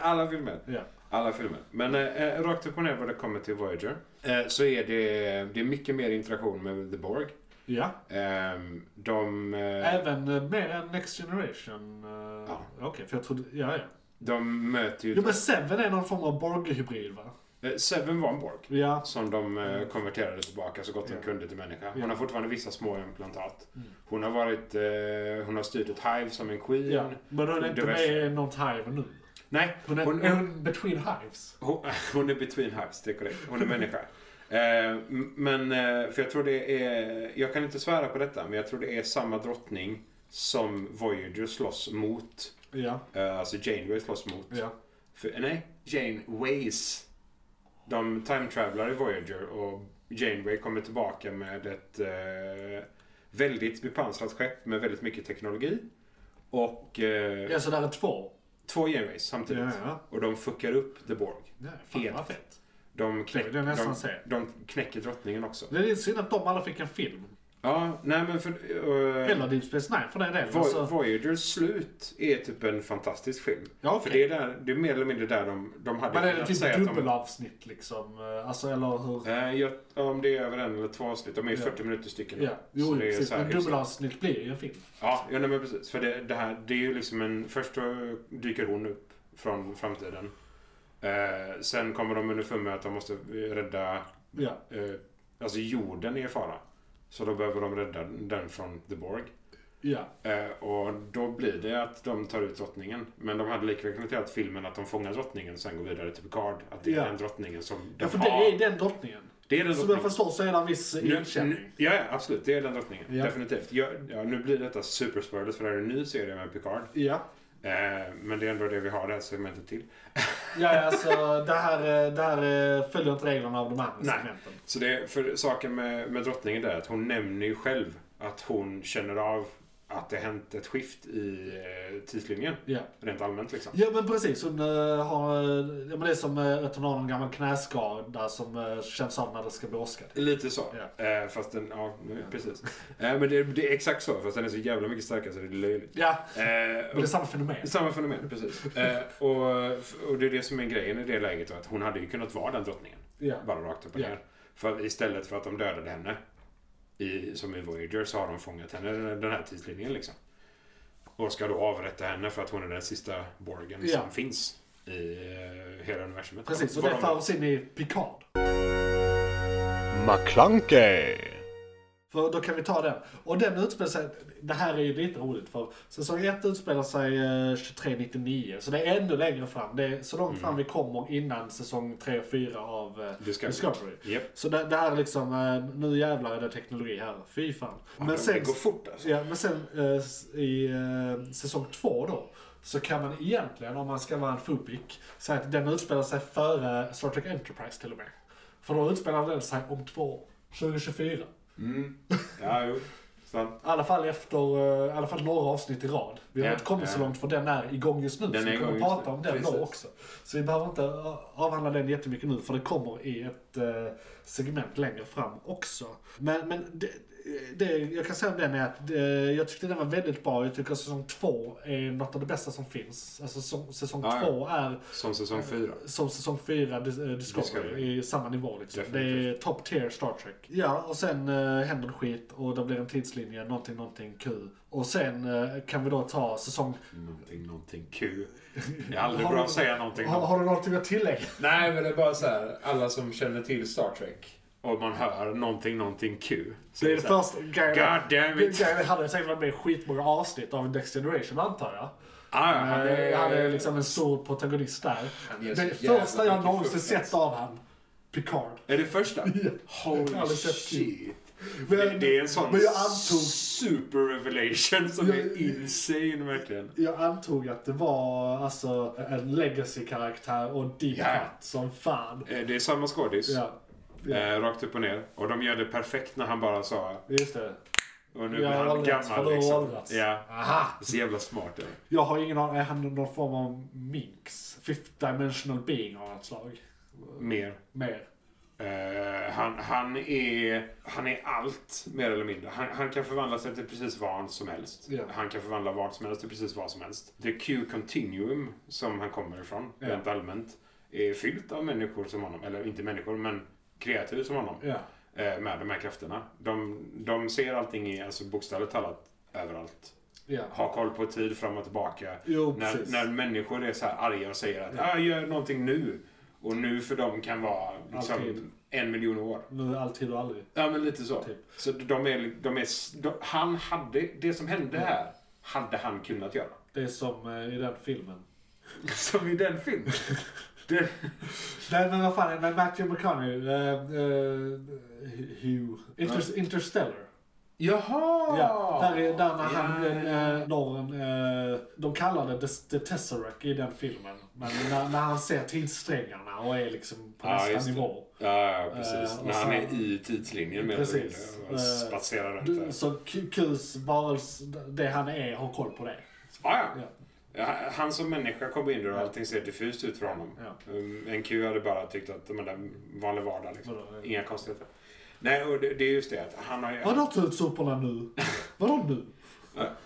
Speaker 7: Alla filmer.
Speaker 1: Ja.
Speaker 7: Alla filmer. Men eh, eh, rakt upp och ner vad det kommer till Voyager eh, så är det, det är mycket mer interaktion med The Borg.
Speaker 1: ja.
Speaker 7: Eh, de, eh,
Speaker 1: Även eh, mer än Next Generation. Eh,
Speaker 7: Ja.
Speaker 1: Okej, för jag trodde... Ja, ja.
Speaker 7: de möter ju...
Speaker 1: Jo men Seven är någon form av Borg-hybrid va?
Speaker 7: Eh, Seven var en Borg.
Speaker 1: Ja.
Speaker 7: Som de eh, konverterade tillbaka så gott de
Speaker 1: Mm. Ja.
Speaker 7: kunde till människa. Hon
Speaker 1: Ja.
Speaker 7: har fortfarande vissa små implantat.
Speaker 1: Mm.
Speaker 7: Hon har varit... Eh, hon har styrt ett hive som en queen.
Speaker 1: ja. Men hon är inte med
Speaker 7: Diverse.
Speaker 1: i något hive nu.
Speaker 7: Nej,
Speaker 1: Hon är,
Speaker 7: Hon-
Speaker 1: hon, är hon between hives.
Speaker 7: Hon, hon är between hives, det är korrekt. Hon är människa. Eh, m- men, eh, för jag tror det är, jag kan inte svära på detta, men jag tror det är samma drottning som Voyager slåss mot.
Speaker 1: Ja.
Speaker 7: Eh, alltså Janeway slåss mot.
Speaker 1: Ja.
Speaker 7: För, eh, nej, Janeways. De time-travelar i Voyager och Janeway kommer tillbaka med ett eh, väldigt bepansrat skepp med väldigt mycket teknologi. Och eh,
Speaker 1: ja, så där är två.
Speaker 7: två Janeways
Speaker 1: Ja,
Speaker 7: samtidigt.
Speaker 1: ja.
Speaker 7: Och de fuckar upp The Borg.
Speaker 1: ja fan
Speaker 7: Helt.
Speaker 1: vad fett.
Speaker 7: De, knäck,
Speaker 1: Det är nästan
Speaker 7: de,
Speaker 1: ser.
Speaker 7: de knäcker drottningen också.
Speaker 1: Det är lite synd att de alla fick en film.
Speaker 7: Ja, nej men för... eh,
Speaker 1: Eller Deep Space Nine för den delen.
Speaker 7: Voy-
Speaker 1: Alltså,
Speaker 7: Voyagers slut är typ en fantastisk film.
Speaker 1: ja,
Speaker 7: För
Speaker 1: okej.
Speaker 7: det är, där, det är mer eller mindre där de, de hade
Speaker 1: Men är det
Speaker 7: kunnat
Speaker 1: typ
Speaker 7: säga att de...
Speaker 1: dubbelavsnitt liksom? Eh, Alltså eller hur?
Speaker 7: Eh, jag, om det är över en eller två avsnitt. De är ju
Speaker 1: Ja.
Speaker 7: 40 minuter stycken.
Speaker 1: Ja, jo
Speaker 7: så det är
Speaker 1: precis.
Speaker 7: så här
Speaker 1: Men
Speaker 7: hyfsat.
Speaker 1: dubbelavsnitt blir ju en film.
Speaker 7: Ja, ja nej, men precis. För det, det här, det är ju liksom en... Först då dyker hon upp från framtiden. Eh, sen kommer de underfund med att de måste rädda
Speaker 1: Ja.
Speaker 7: eh, alltså jorden är i fara. Så då behöver de rädda den från The Borg.
Speaker 1: Ja.
Speaker 7: Eh, och då blir det att de tar ut drottningen. Men de hade likväl kunnat göra att filmen att de fångar drottningen och sen går vidare till Picard. Att det är
Speaker 1: Ja.
Speaker 7: den drottningen som de
Speaker 1: ja, för det
Speaker 7: har.
Speaker 1: är den drottningen.
Speaker 7: Det är den
Speaker 1: Som jag
Speaker 7: drottningen.
Speaker 1: förstår så är det en viss
Speaker 7: Nu- nu-
Speaker 1: inkänning.
Speaker 7: Ja, ja, absolut. Det är den drottningen.
Speaker 1: Ja.
Speaker 7: Definitivt. Ja, ja, nu blir detta superspoilers för det här är en ny serie med Picard.
Speaker 1: Ja.
Speaker 7: Eh, men det är ändå det vi har det här segmentet till.
Speaker 1: Ja, ja, alltså det här, eh, det här eh, följer inte reglerna av de andra
Speaker 7: Nej.
Speaker 1: segmenten.
Speaker 7: Så det, för saken med, med drottningen där är att hon nämner ju själv att hon känner av att det hänt ett skift i eh, tidslinjen.
Speaker 1: Ja.
Speaker 7: Rent allmänt liksom.
Speaker 1: ja, men precis. Hon eh, har, eh, ja, men det är som eh, att hon har någon gammal knäskada som eh, känns av när det ska bli åska.
Speaker 7: Lite så. Eh, fast den, ja, nu- precis. Eh, men det, det är exakt så, fast den är så jävla mycket starkare så det är löjligt.
Speaker 1: Ja,
Speaker 7: Eh,
Speaker 1: men det är
Speaker 7: och,
Speaker 1: samma fenomen.
Speaker 7: samma fenomen, precis. Eh, och, och det är det som är grejen i det läget, då, att hon hade ju kunnat vara den drottningen.
Speaker 1: Ja.
Speaker 7: Bara rakt upp och
Speaker 1: Ja.
Speaker 7: ner. För istället för att de dödade henne, i, som i Voyager, så har de fångat henne den den här tidslinjen liksom. Och ska då avrätta henne för att hon är den sista Borgen
Speaker 1: Ja.
Speaker 7: som finns i eh, hela universumet.
Speaker 1: Precis, och
Speaker 7: Vad
Speaker 1: det
Speaker 7: de-
Speaker 1: för oss in i Picard.
Speaker 8: McClunkey.
Speaker 1: För då kan vi ta den. Och den utspelar sig, det här är ju lite roligt för säsong 1 utspelar sig eh, 2399. Så det är ännu längre fram. Det är så
Speaker 7: Mm.
Speaker 1: långt fram vi kommer innan säsong 3 och 4 av eh,
Speaker 7: Discovery.
Speaker 1: Discovery.
Speaker 7: Japp.
Speaker 1: Så det, det här är liksom, eh, nu jävlar är det teknologi här. Fy fan. Men
Speaker 7: det
Speaker 1: sen,
Speaker 7: går fort alltså.
Speaker 1: ja, men sen eh, s- i eh, säsong två då, så kan man egentligen, om man ska vara en fubik, säga att den utspelar sig före Star Trek Enterprise till och med. För då utspelar den sig om två år. 2024.
Speaker 7: Mm. Ja, jo. Sant.
Speaker 1: I alla fall efter, eh, i alla fall några avsnitt i rad. Vi har
Speaker 7: Ja,
Speaker 1: inte kommit så
Speaker 7: ja.
Speaker 1: långt för den är igång just nu.
Speaker 7: Den
Speaker 1: så
Speaker 7: är
Speaker 1: vi kommer
Speaker 7: igång just
Speaker 1: prata
Speaker 7: nu.
Speaker 1: om den då
Speaker 7: Precis.
Speaker 1: också. Så vi behöver inte eh, avhandla den jättemycket nu för det kommer i ett eh, segment längre fram också. Men, men det, det jag kan säga om den är att eh, jag tyckte den var väldigt bra. Jag tycker att säsong två är något av det bästa som finns. Alltså säsong, säsong
Speaker 7: Ja, ja.
Speaker 1: två är
Speaker 7: Som säsong fyra.
Speaker 1: som säsong 4 Discovery,
Speaker 7: Discovery.
Speaker 1: i samma nivå liksom. Det är
Speaker 7: Definitivt.
Speaker 1: top tier Star Trek. Ja, och sen eh, händer det skit och det blir en tidslinje, någonting, någonting kul. Och sen eh, kan vi då ta säsong...
Speaker 7: Någonting, någonting Q. Det är aldrig
Speaker 1: Har
Speaker 7: bra
Speaker 1: du-
Speaker 7: att säga någonting.
Speaker 1: Har,
Speaker 7: någonting.
Speaker 1: har du någonting att tillägga?
Speaker 4: Nej, men det är bara så här. Alla som känner till Star Trek.
Speaker 7: Och man hör någonting, någonting Q. Så
Speaker 1: Det är det
Speaker 7: så här,
Speaker 1: första... Grejen
Speaker 7: God damn it!
Speaker 1: Det hade säkert varit med i skitmånga avsnitt av Next Generation antar jag.
Speaker 7: Ah, ja,
Speaker 1: Han är, han är liksom en stor protagonist där.
Speaker 4: Han
Speaker 1: Det
Speaker 4: är
Speaker 1: är
Speaker 4: så jävla
Speaker 1: första jag
Speaker 4: mycket
Speaker 1: någonsin
Speaker 4: fuffens.
Speaker 1: sett av han. Picard.
Speaker 7: Är det första? Holy
Speaker 1: Alice
Speaker 7: shit.
Speaker 1: Men-
Speaker 7: Det, det är en sån
Speaker 1: men jag antog-
Speaker 7: super revelation som
Speaker 1: Jag-
Speaker 7: är insane verkligen.
Speaker 1: Jag antog att det var alltså en legacy-karaktär och deep
Speaker 7: Ja.
Speaker 1: cut som fan.
Speaker 7: Eh, Det är samma skådis.
Speaker 1: Ja, ja.
Speaker 7: Eh, rakt upp och ner. Och de gör det perfekt när han bara sa
Speaker 1: just det.
Speaker 7: och nu
Speaker 1: Jag
Speaker 7: blir
Speaker 1: har
Speaker 7: han
Speaker 1: åldrats, för då
Speaker 7: gammal
Speaker 1: har
Speaker 7: liksom.
Speaker 1: åldrats.
Speaker 7: Ja.
Speaker 1: Aha!
Speaker 7: Så jävla smart. Ja.
Speaker 1: Jag har ingen aning, är han någon form av minx? Fifth dimensional being av något slag?
Speaker 7: Mer.
Speaker 1: Mer?
Speaker 7: Eh, han, han, är, han är allt, mer eller mindre. Han, han kan förvandla sig till precis vad som helst.
Speaker 1: Ja.
Speaker 7: Han kan förvandla vad som helst till precis vad som helst. The Q-continuum som han kommer ifrån,
Speaker 1: Ja.
Speaker 7: rent allmänt, är fyllt av människor som honom. Eller inte människor, men kreatur som honom.
Speaker 1: Ja.
Speaker 7: eh, Med de här krafterna. De, de ser allting i, alltså bokstavligt talat, överallt.
Speaker 1: ja.
Speaker 7: Har koll på tid fram och tillbaka.
Speaker 1: Jo,
Speaker 7: När,
Speaker 1: precis.
Speaker 7: när människor är så här arga och säger att ah, gör någonting nu. Och nu för dem kan vara
Speaker 1: Alltid.
Speaker 7: liksom, en miljon år.
Speaker 1: Nu alltid och aldrig.
Speaker 7: Ja, men lite så.
Speaker 1: Typ.
Speaker 7: Så de är, de är, de, han hade, det som hände här hade han kunnat göra. [LAUGHS]
Speaker 1: Det är som eh, i den filmen.
Speaker 7: Som i
Speaker 1: [LAUGHS]
Speaker 7: den filmen. Det,
Speaker 1: Nej men vad fan, är det med Matthew McConaughey? eh, eh, Hugh. Inter- Interstellar.
Speaker 7: jaha!
Speaker 1: Ja, där, är, där när han,
Speaker 7: Ja,
Speaker 1: yeah. eh, Norren, eh, de kallar det The- The Tesseract i den filmen. Men när, när han ser tidssträngarna och är liksom på
Speaker 7: Ja, just
Speaker 1: nästa
Speaker 7: det.
Speaker 1: nivå.
Speaker 7: Ja, ja, precis.
Speaker 1: Eh, och
Speaker 7: När han
Speaker 1: sen-
Speaker 7: är i tidslinjen med
Speaker 1: Precis.
Speaker 7: och
Speaker 1: Eh,
Speaker 7: spatserar runt
Speaker 1: Du-
Speaker 7: där.
Speaker 1: Så Q- Qs varelse, det han är, har koll på det.
Speaker 7: Ja,
Speaker 1: Ja.
Speaker 7: ja. Ja, Han som människa kommer in där och allting ser diffust ut för honom.
Speaker 1: Ja.
Speaker 7: Um, En Q hade bara tyckt att men, det var vanlig vardag. Liksom.
Speaker 1: Vadå, ja.
Speaker 7: Inga konstigheter. Nej, och det, det är just det att han har ju...
Speaker 1: Vadå tutsoporna nu? Vadå nu?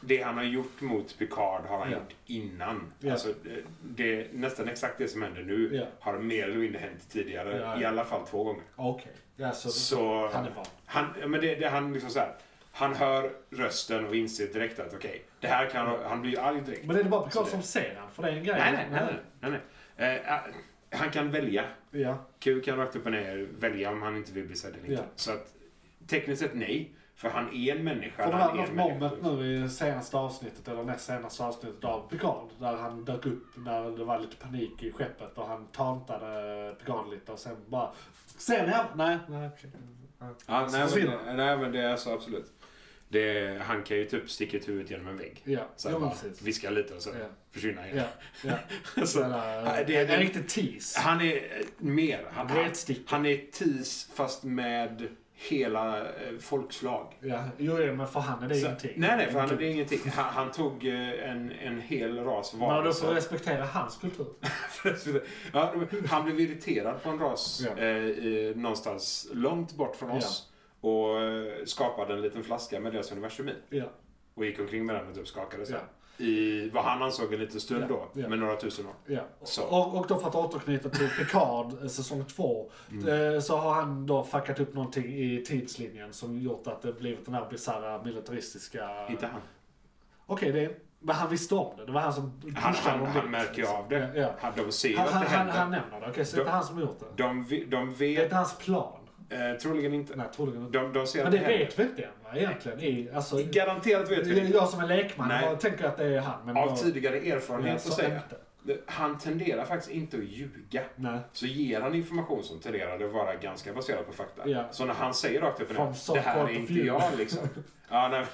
Speaker 7: Det han har gjort mot Picard har han
Speaker 1: Ja.
Speaker 7: gjort innan.
Speaker 1: Ja.
Speaker 7: Alltså, det, det, nästan exakt det som händer nu
Speaker 1: Ja.
Speaker 7: har mer eller mindre hänt tidigare.
Speaker 1: Ja, ja.
Speaker 7: I alla fall två gånger.
Speaker 1: Okej. Ja, så,
Speaker 7: Så
Speaker 1: han är van.
Speaker 7: han, ja, men det, det, han liksom så här, han hör rösten och inser direkt att okej, det här kan han blir arg direkt.
Speaker 1: Men är det bara Picard
Speaker 7: Så det-
Speaker 1: som ser han? För det är en grej.
Speaker 7: Nej, nej, nej. nej, nej, nej. Eh, eh, han kan välja.
Speaker 1: Ja.
Speaker 7: Q kan rakt upp och ner välja om han inte vill bli sedd eller inte.
Speaker 1: Ja.
Speaker 7: Så att tekniskt sett nej. För han är en människa.
Speaker 1: För det var
Speaker 7: han är
Speaker 1: något
Speaker 7: en människa.
Speaker 1: moment nu i senaste avsnittet, eller näst senaste avsnittet av Picard. Där han dök upp när det var lite panik i skeppet och han tantade Picard lite och sen bara... Ser ni han? Nej. nej okej.
Speaker 7: Ja, nej,
Speaker 1: Försvinner.
Speaker 7: men, nej, men det är så absolut. Det, han kan ju typ sticka ut huvudet genom en vägg.
Speaker 1: Ja,
Speaker 7: Så
Speaker 1: ja,
Speaker 7: här, bara
Speaker 1: precis.
Speaker 7: viska lite och så
Speaker 1: Ja.
Speaker 7: försvinna igen.
Speaker 1: Ja, ja.
Speaker 7: [LAUGHS] Så,
Speaker 1: Den,
Speaker 7: ja,
Speaker 1: äh,
Speaker 7: det är-
Speaker 1: en riktig tease.
Speaker 7: Han är eh, mer. Han,
Speaker 1: Han är
Speaker 7: han,
Speaker 1: ett stick.
Speaker 7: han är tis fast med hela eh, folkslag.
Speaker 1: Ja, jo, jo, men för han är det
Speaker 7: Så-
Speaker 1: ingenting.
Speaker 7: Nej, nej, för han, det är ingenting. Han, han tog eh, en, en hel ras
Speaker 1: Men du får
Speaker 7: varelser.
Speaker 1: respektera hans kultur.
Speaker 7: Ja, han blev irriterad på en ras
Speaker 1: Ja.
Speaker 7: eh, i, någonstans långt bort från oss. Och eh, skapade en liten flaska med deras universum i.
Speaker 1: Ja.
Speaker 7: Och gick omkring med den och typ skakade sig.
Speaker 1: Ja.
Speaker 7: I vad han ansåg en liten stund
Speaker 1: Ja,
Speaker 7: då,
Speaker 1: ja.
Speaker 7: med några tusen år.
Speaker 1: Ja.
Speaker 7: Så.
Speaker 1: Och, och då för att återknyta till Picard eh, säsong två.
Speaker 7: Mm.
Speaker 1: eh, Så har han då fuckat upp någonting i tidslinjen som gjort att det blivit den här bisarra militaristiska...
Speaker 7: Inte han.
Speaker 1: Okej, det men han visste om det. Det var han som pushade
Speaker 7: Han, han,
Speaker 1: dem
Speaker 7: han
Speaker 1: dit,
Speaker 7: märker ju
Speaker 1: liksom.
Speaker 7: av det.
Speaker 1: Ja,
Speaker 7: Han, de ser
Speaker 1: ja.
Speaker 7: ju
Speaker 1: Han,
Speaker 7: att det
Speaker 1: han, han,
Speaker 7: händer.
Speaker 1: han nämner det. Okej, så det är
Speaker 7: De-
Speaker 1: inte han som har gjort det.
Speaker 7: de, vi- de
Speaker 1: Det är
Speaker 7: vet,
Speaker 1: inte hans plan.
Speaker 7: eh, troligen inte.
Speaker 1: Nej, troligen inte.
Speaker 7: De, de ser
Speaker 1: Men
Speaker 7: att
Speaker 1: det
Speaker 7: det händer.
Speaker 1: vet vi inte än, va? Egentligen. I, alltså,
Speaker 7: Garanterat vet vi det.
Speaker 1: jag som är lekman
Speaker 7: Nej.
Speaker 1: jag tänker att det är han. Men
Speaker 7: Av
Speaker 1: då-
Speaker 7: tidigare
Speaker 1: Ja,
Speaker 7: erfarenhet
Speaker 1: så
Speaker 7: så säger
Speaker 1: inte.
Speaker 7: jag. Han tenderar faktiskt inte att ljuga.
Speaker 1: Nej.
Speaker 7: Så ger han information som tenderar att vara ganska baserad på fakta.
Speaker 1: Ja.
Speaker 7: Så när han säger rakt upp och
Speaker 1: From
Speaker 7: ner,
Speaker 1: some
Speaker 7: det här är
Speaker 1: point of
Speaker 7: inte
Speaker 1: view." [LAUGHS]
Speaker 7: jag liksom. ja, nej,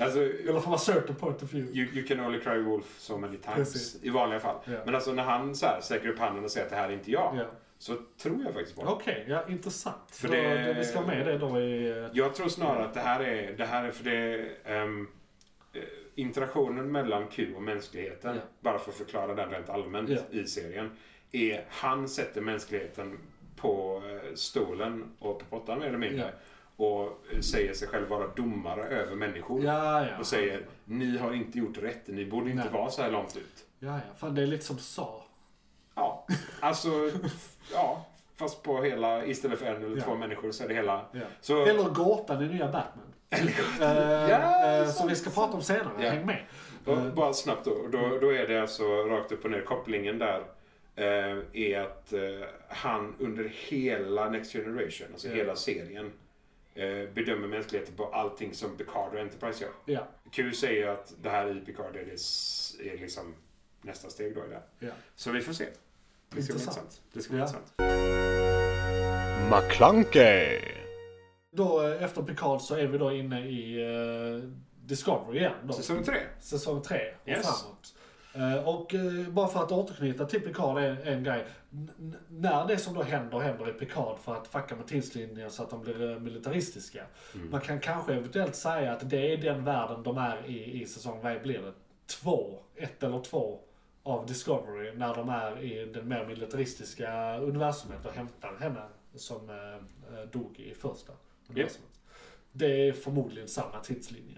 Speaker 7: alltså,
Speaker 1: Eller får vara certain point of view.
Speaker 7: You, you can only cry wolf so many times.
Speaker 1: Precis.
Speaker 7: I vanliga fall.
Speaker 1: Ja.
Speaker 7: Men alltså när han så här sträcker upp handen och säger att det här är inte jag.
Speaker 1: Ja.
Speaker 7: Så tror jag faktiskt på det.
Speaker 1: Okej, ja intressant.
Speaker 7: För
Speaker 1: då,
Speaker 7: det-
Speaker 1: då, vi ska ha med det då i... eh,
Speaker 7: Jag tror snarare att det här är, det här är för det... ehm, eh, interaktionen mellan Q och mänskligheten,
Speaker 1: Ja.
Speaker 7: bara för att förklara den rent allmänt
Speaker 1: Ja.
Speaker 7: i serien. Är han sätter mänskligheten på eh, stolen och på pottan mer eller mindre. Och eh, säger sig själv vara domare över människor.
Speaker 1: Ja, ja.
Speaker 7: Och säger ni har inte gjort rätt, ni borde inte
Speaker 1: Nej.
Speaker 7: vara så här långt ut.
Speaker 1: Ja, ja. Fan, det är lite som sa.
Speaker 7: Ja, alltså, ja. Fast på hela, istället för en eller
Speaker 1: Ja.
Speaker 7: två människor så är det hela.
Speaker 1: Ja.
Speaker 7: Så,
Speaker 1: Eller gåtan i nya
Speaker 7: [LAUGHS]
Speaker 1: Batman. Eh,
Speaker 7: Ja,
Speaker 1: eh, som
Speaker 7: sant,
Speaker 1: vi ska prata om senare.
Speaker 7: Ja.
Speaker 1: Häng med. Eh,
Speaker 7: och, bara snabbt då, då. Då är det alltså rakt upp och ner. Kopplingen där eh, är att eh, han under hela Next Generation, alltså
Speaker 1: Ja.
Speaker 7: hela serien, eh, bedömer mänskligheten på allting som Picard och Enterprise gör.
Speaker 1: Ja,
Speaker 7: Q säger att det här i Picard är, det, s- är liksom nästa steg då i det. här.
Speaker 1: ja.
Speaker 7: Så vi får se. Det ska bli
Speaker 1: Intressant.
Speaker 7: intressant. Det ska bli
Speaker 1: Ja.
Speaker 7: intressant.
Speaker 8: McClunkey,
Speaker 1: Då eh, efter Picard så är vi då inne i eh, Discovery igen. Då.
Speaker 7: Säsong tre.
Speaker 1: Säsong 3 och
Speaker 7: Yes.
Speaker 1: framåt. Eh, och eh, bara för att återknyta till Picard är en grej. N- n- när det som då händer, händer i Picard för att fucka med tidslinjen så att de blir eh, militaristiska. Man kan kanske eventuellt säga att det är den världen de är i i säsong, vad blir det? Två, ett eller två av Discovery när de är i den mer militaristiska universumet och hämtar henne som eh, eh, dog i första universumet. Det är förmodligen samma tidslinje.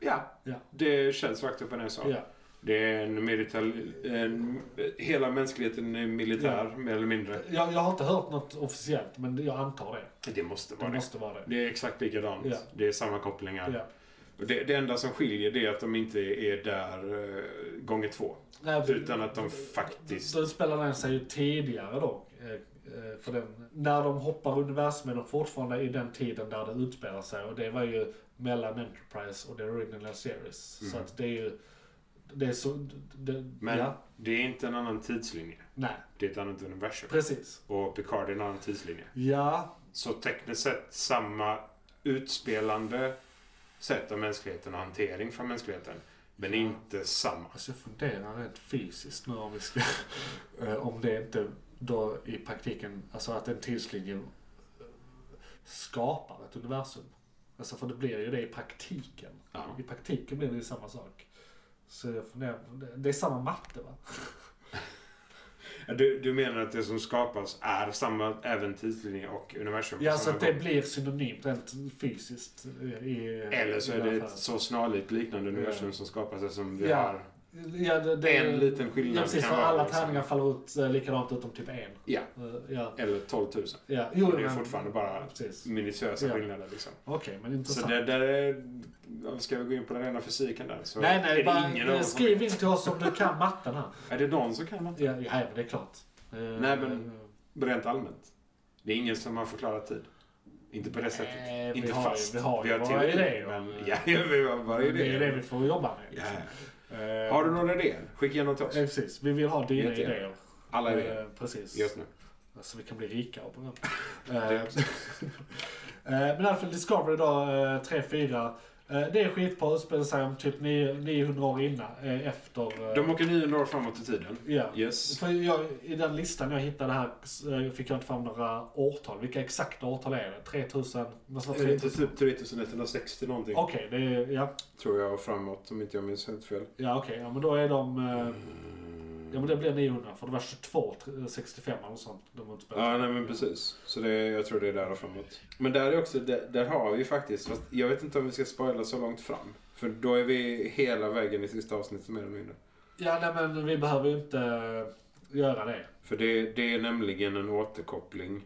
Speaker 7: Ja,
Speaker 1: Ja.
Speaker 7: det känns rakt upp och ner så.
Speaker 1: Ja.
Speaker 7: Det är en militar... En, hela mänskligheten är militär, mer eller mindre.
Speaker 1: Jag, jag har inte hört något officiellt, men jag antar det.
Speaker 7: Det måste
Speaker 1: Det
Speaker 7: vara det.
Speaker 1: måste vara det.
Speaker 7: Det är exakt likadant.
Speaker 1: Ja.
Speaker 7: Det är samma kopplingar.
Speaker 1: Ja.
Speaker 7: Och Det, det enda som skiljer det är att de inte är där eh, gånger två.
Speaker 1: Nej,
Speaker 7: Utan att de faktiskt...
Speaker 1: Så spelar den sig ju tidigare då. eh, eh, För den, när de hoppar universum är de fortfarande i den tiden där det utspelar sig. Och det var ju mellan Enterprise och The Original Series. Så att det är ju... Det är så... Det,
Speaker 7: Mhm. Men
Speaker 1: Ja,
Speaker 7: det är inte en annan tidslinje.
Speaker 1: nej,
Speaker 7: Det är ett annat universum.
Speaker 1: precis.
Speaker 7: Och Picard är en annan tidslinje.
Speaker 1: Ja,
Speaker 7: Så tekniskt sett samma utspelande sätt av mänskligheten och hantering från mänskligheten. Men inte samma.
Speaker 1: alltså jag funderar rent fysiskt nu om vi ska... [LAUGHS] eh, om det inte då i praktiken, alltså att en tidslinje skapar ett universum. Alltså för det blir ju det i praktiken.
Speaker 7: Ja.
Speaker 1: I praktiken blir det ju samma sak. Så jag funderar, det- det är samma matte va?
Speaker 7: Du, du menar att det som skapas är samma även tidslinje och universum? på
Speaker 1: Ja, så
Speaker 7: samma
Speaker 1: att det
Speaker 7: gång?
Speaker 1: blir synonymt rent fysiskt. eh, I,
Speaker 7: Eller så
Speaker 1: i
Speaker 7: är det
Speaker 1: alla fall.
Speaker 7: ett så snarlikt liknande universum som skapas eftersom vi
Speaker 1: Ja.
Speaker 7: har...
Speaker 1: ja, det, det,
Speaker 7: en liten skillnad
Speaker 1: Ja, precis.
Speaker 7: kan
Speaker 1: För
Speaker 7: vara
Speaker 1: alla
Speaker 7: liksom-
Speaker 1: tärningar faller ut eh, likadant utom typ en.
Speaker 7: Ja,
Speaker 1: Eh, Ja,
Speaker 7: eller 12 000.
Speaker 1: ja.
Speaker 7: Och det är
Speaker 1: men-
Speaker 7: fortfarande bara
Speaker 1: Precis.
Speaker 7: minutiösa
Speaker 1: Ja.
Speaker 7: skillnader liksom.
Speaker 1: Okej, men
Speaker 7: Så
Speaker 1: intressant.
Speaker 7: det där är... Ska vi gå in på den rena fysiken där? Så
Speaker 1: nej, nej,
Speaker 7: är det
Speaker 1: bara,
Speaker 7: ingen av
Speaker 1: eh,
Speaker 7: oss som
Speaker 1: skriv
Speaker 7: vet.
Speaker 1: in till oss om du kan matten här.
Speaker 7: Är det någon som kan
Speaker 1: Ja, ja men det är klart. Eh,
Speaker 7: Nej, men- Rent allmänt. Det är ingen som har förklarat tid. Inte på det sättet.
Speaker 1: Nej, Eh, vi
Speaker 7: Inte
Speaker 1: har ju-
Speaker 7: fast.
Speaker 1: vi har ju våra
Speaker 7: teorier,
Speaker 1: idéer.
Speaker 7: Men, [LAUGHS] ja, vi har bara
Speaker 1: det är ju det
Speaker 7: idéer.
Speaker 1: vi får jobba med.
Speaker 7: Ja.
Speaker 1: liksom. Eh,
Speaker 7: Har du några idéer? Skicka gärna till oss.
Speaker 1: eh, precis, vi vill ha dina
Speaker 7: Jättegärna.
Speaker 1: idéer.
Speaker 7: Alla idéer.
Speaker 1: Eh, precis.
Speaker 7: Just nu.
Speaker 1: Så vi kan bli rika på den.
Speaker 7: [LAUGHS]
Speaker 1: Eh, eh, Men i alla fall Discovery då, eh, 3-4. Eh, Det är skitbra, utspelar sig om typ 9 900 år innan, eh, efter... eh,
Speaker 7: De åker 900 år framåt i tiden.
Speaker 1: ja.
Speaker 7: Yes.
Speaker 1: För jag, I den listan jag hittade här eh, fick jag inte fram några årtal. Vilka exakta årtal är det? 3000? Måste vara
Speaker 7: Är det inte
Speaker 1: 3000?
Speaker 7: typ 3160 någonting?
Speaker 1: Okej, det är... Ja,
Speaker 7: Tror jag och framåt om inte jag minns helt fel.
Speaker 1: ja okej. Eh, Ja, men då är de...
Speaker 7: Mm.
Speaker 1: eh, Ja men det blir 900 för det var 22, 65 eller något sånt. De har inte spelat.
Speaker 7: Ja, nej men precis. Så det, jag tror det är där och framåt. Men där är också, där, där har vi faktiskt, fast jag vet inte om vi ska spoila så långt fram. För då är vi hela vägen i sista avsnittet mer eller mindre.
Speaker 1: Ja nej men vi behöver ju inte göra det.
Speaker 7: För det, det är nämligen en återkoppling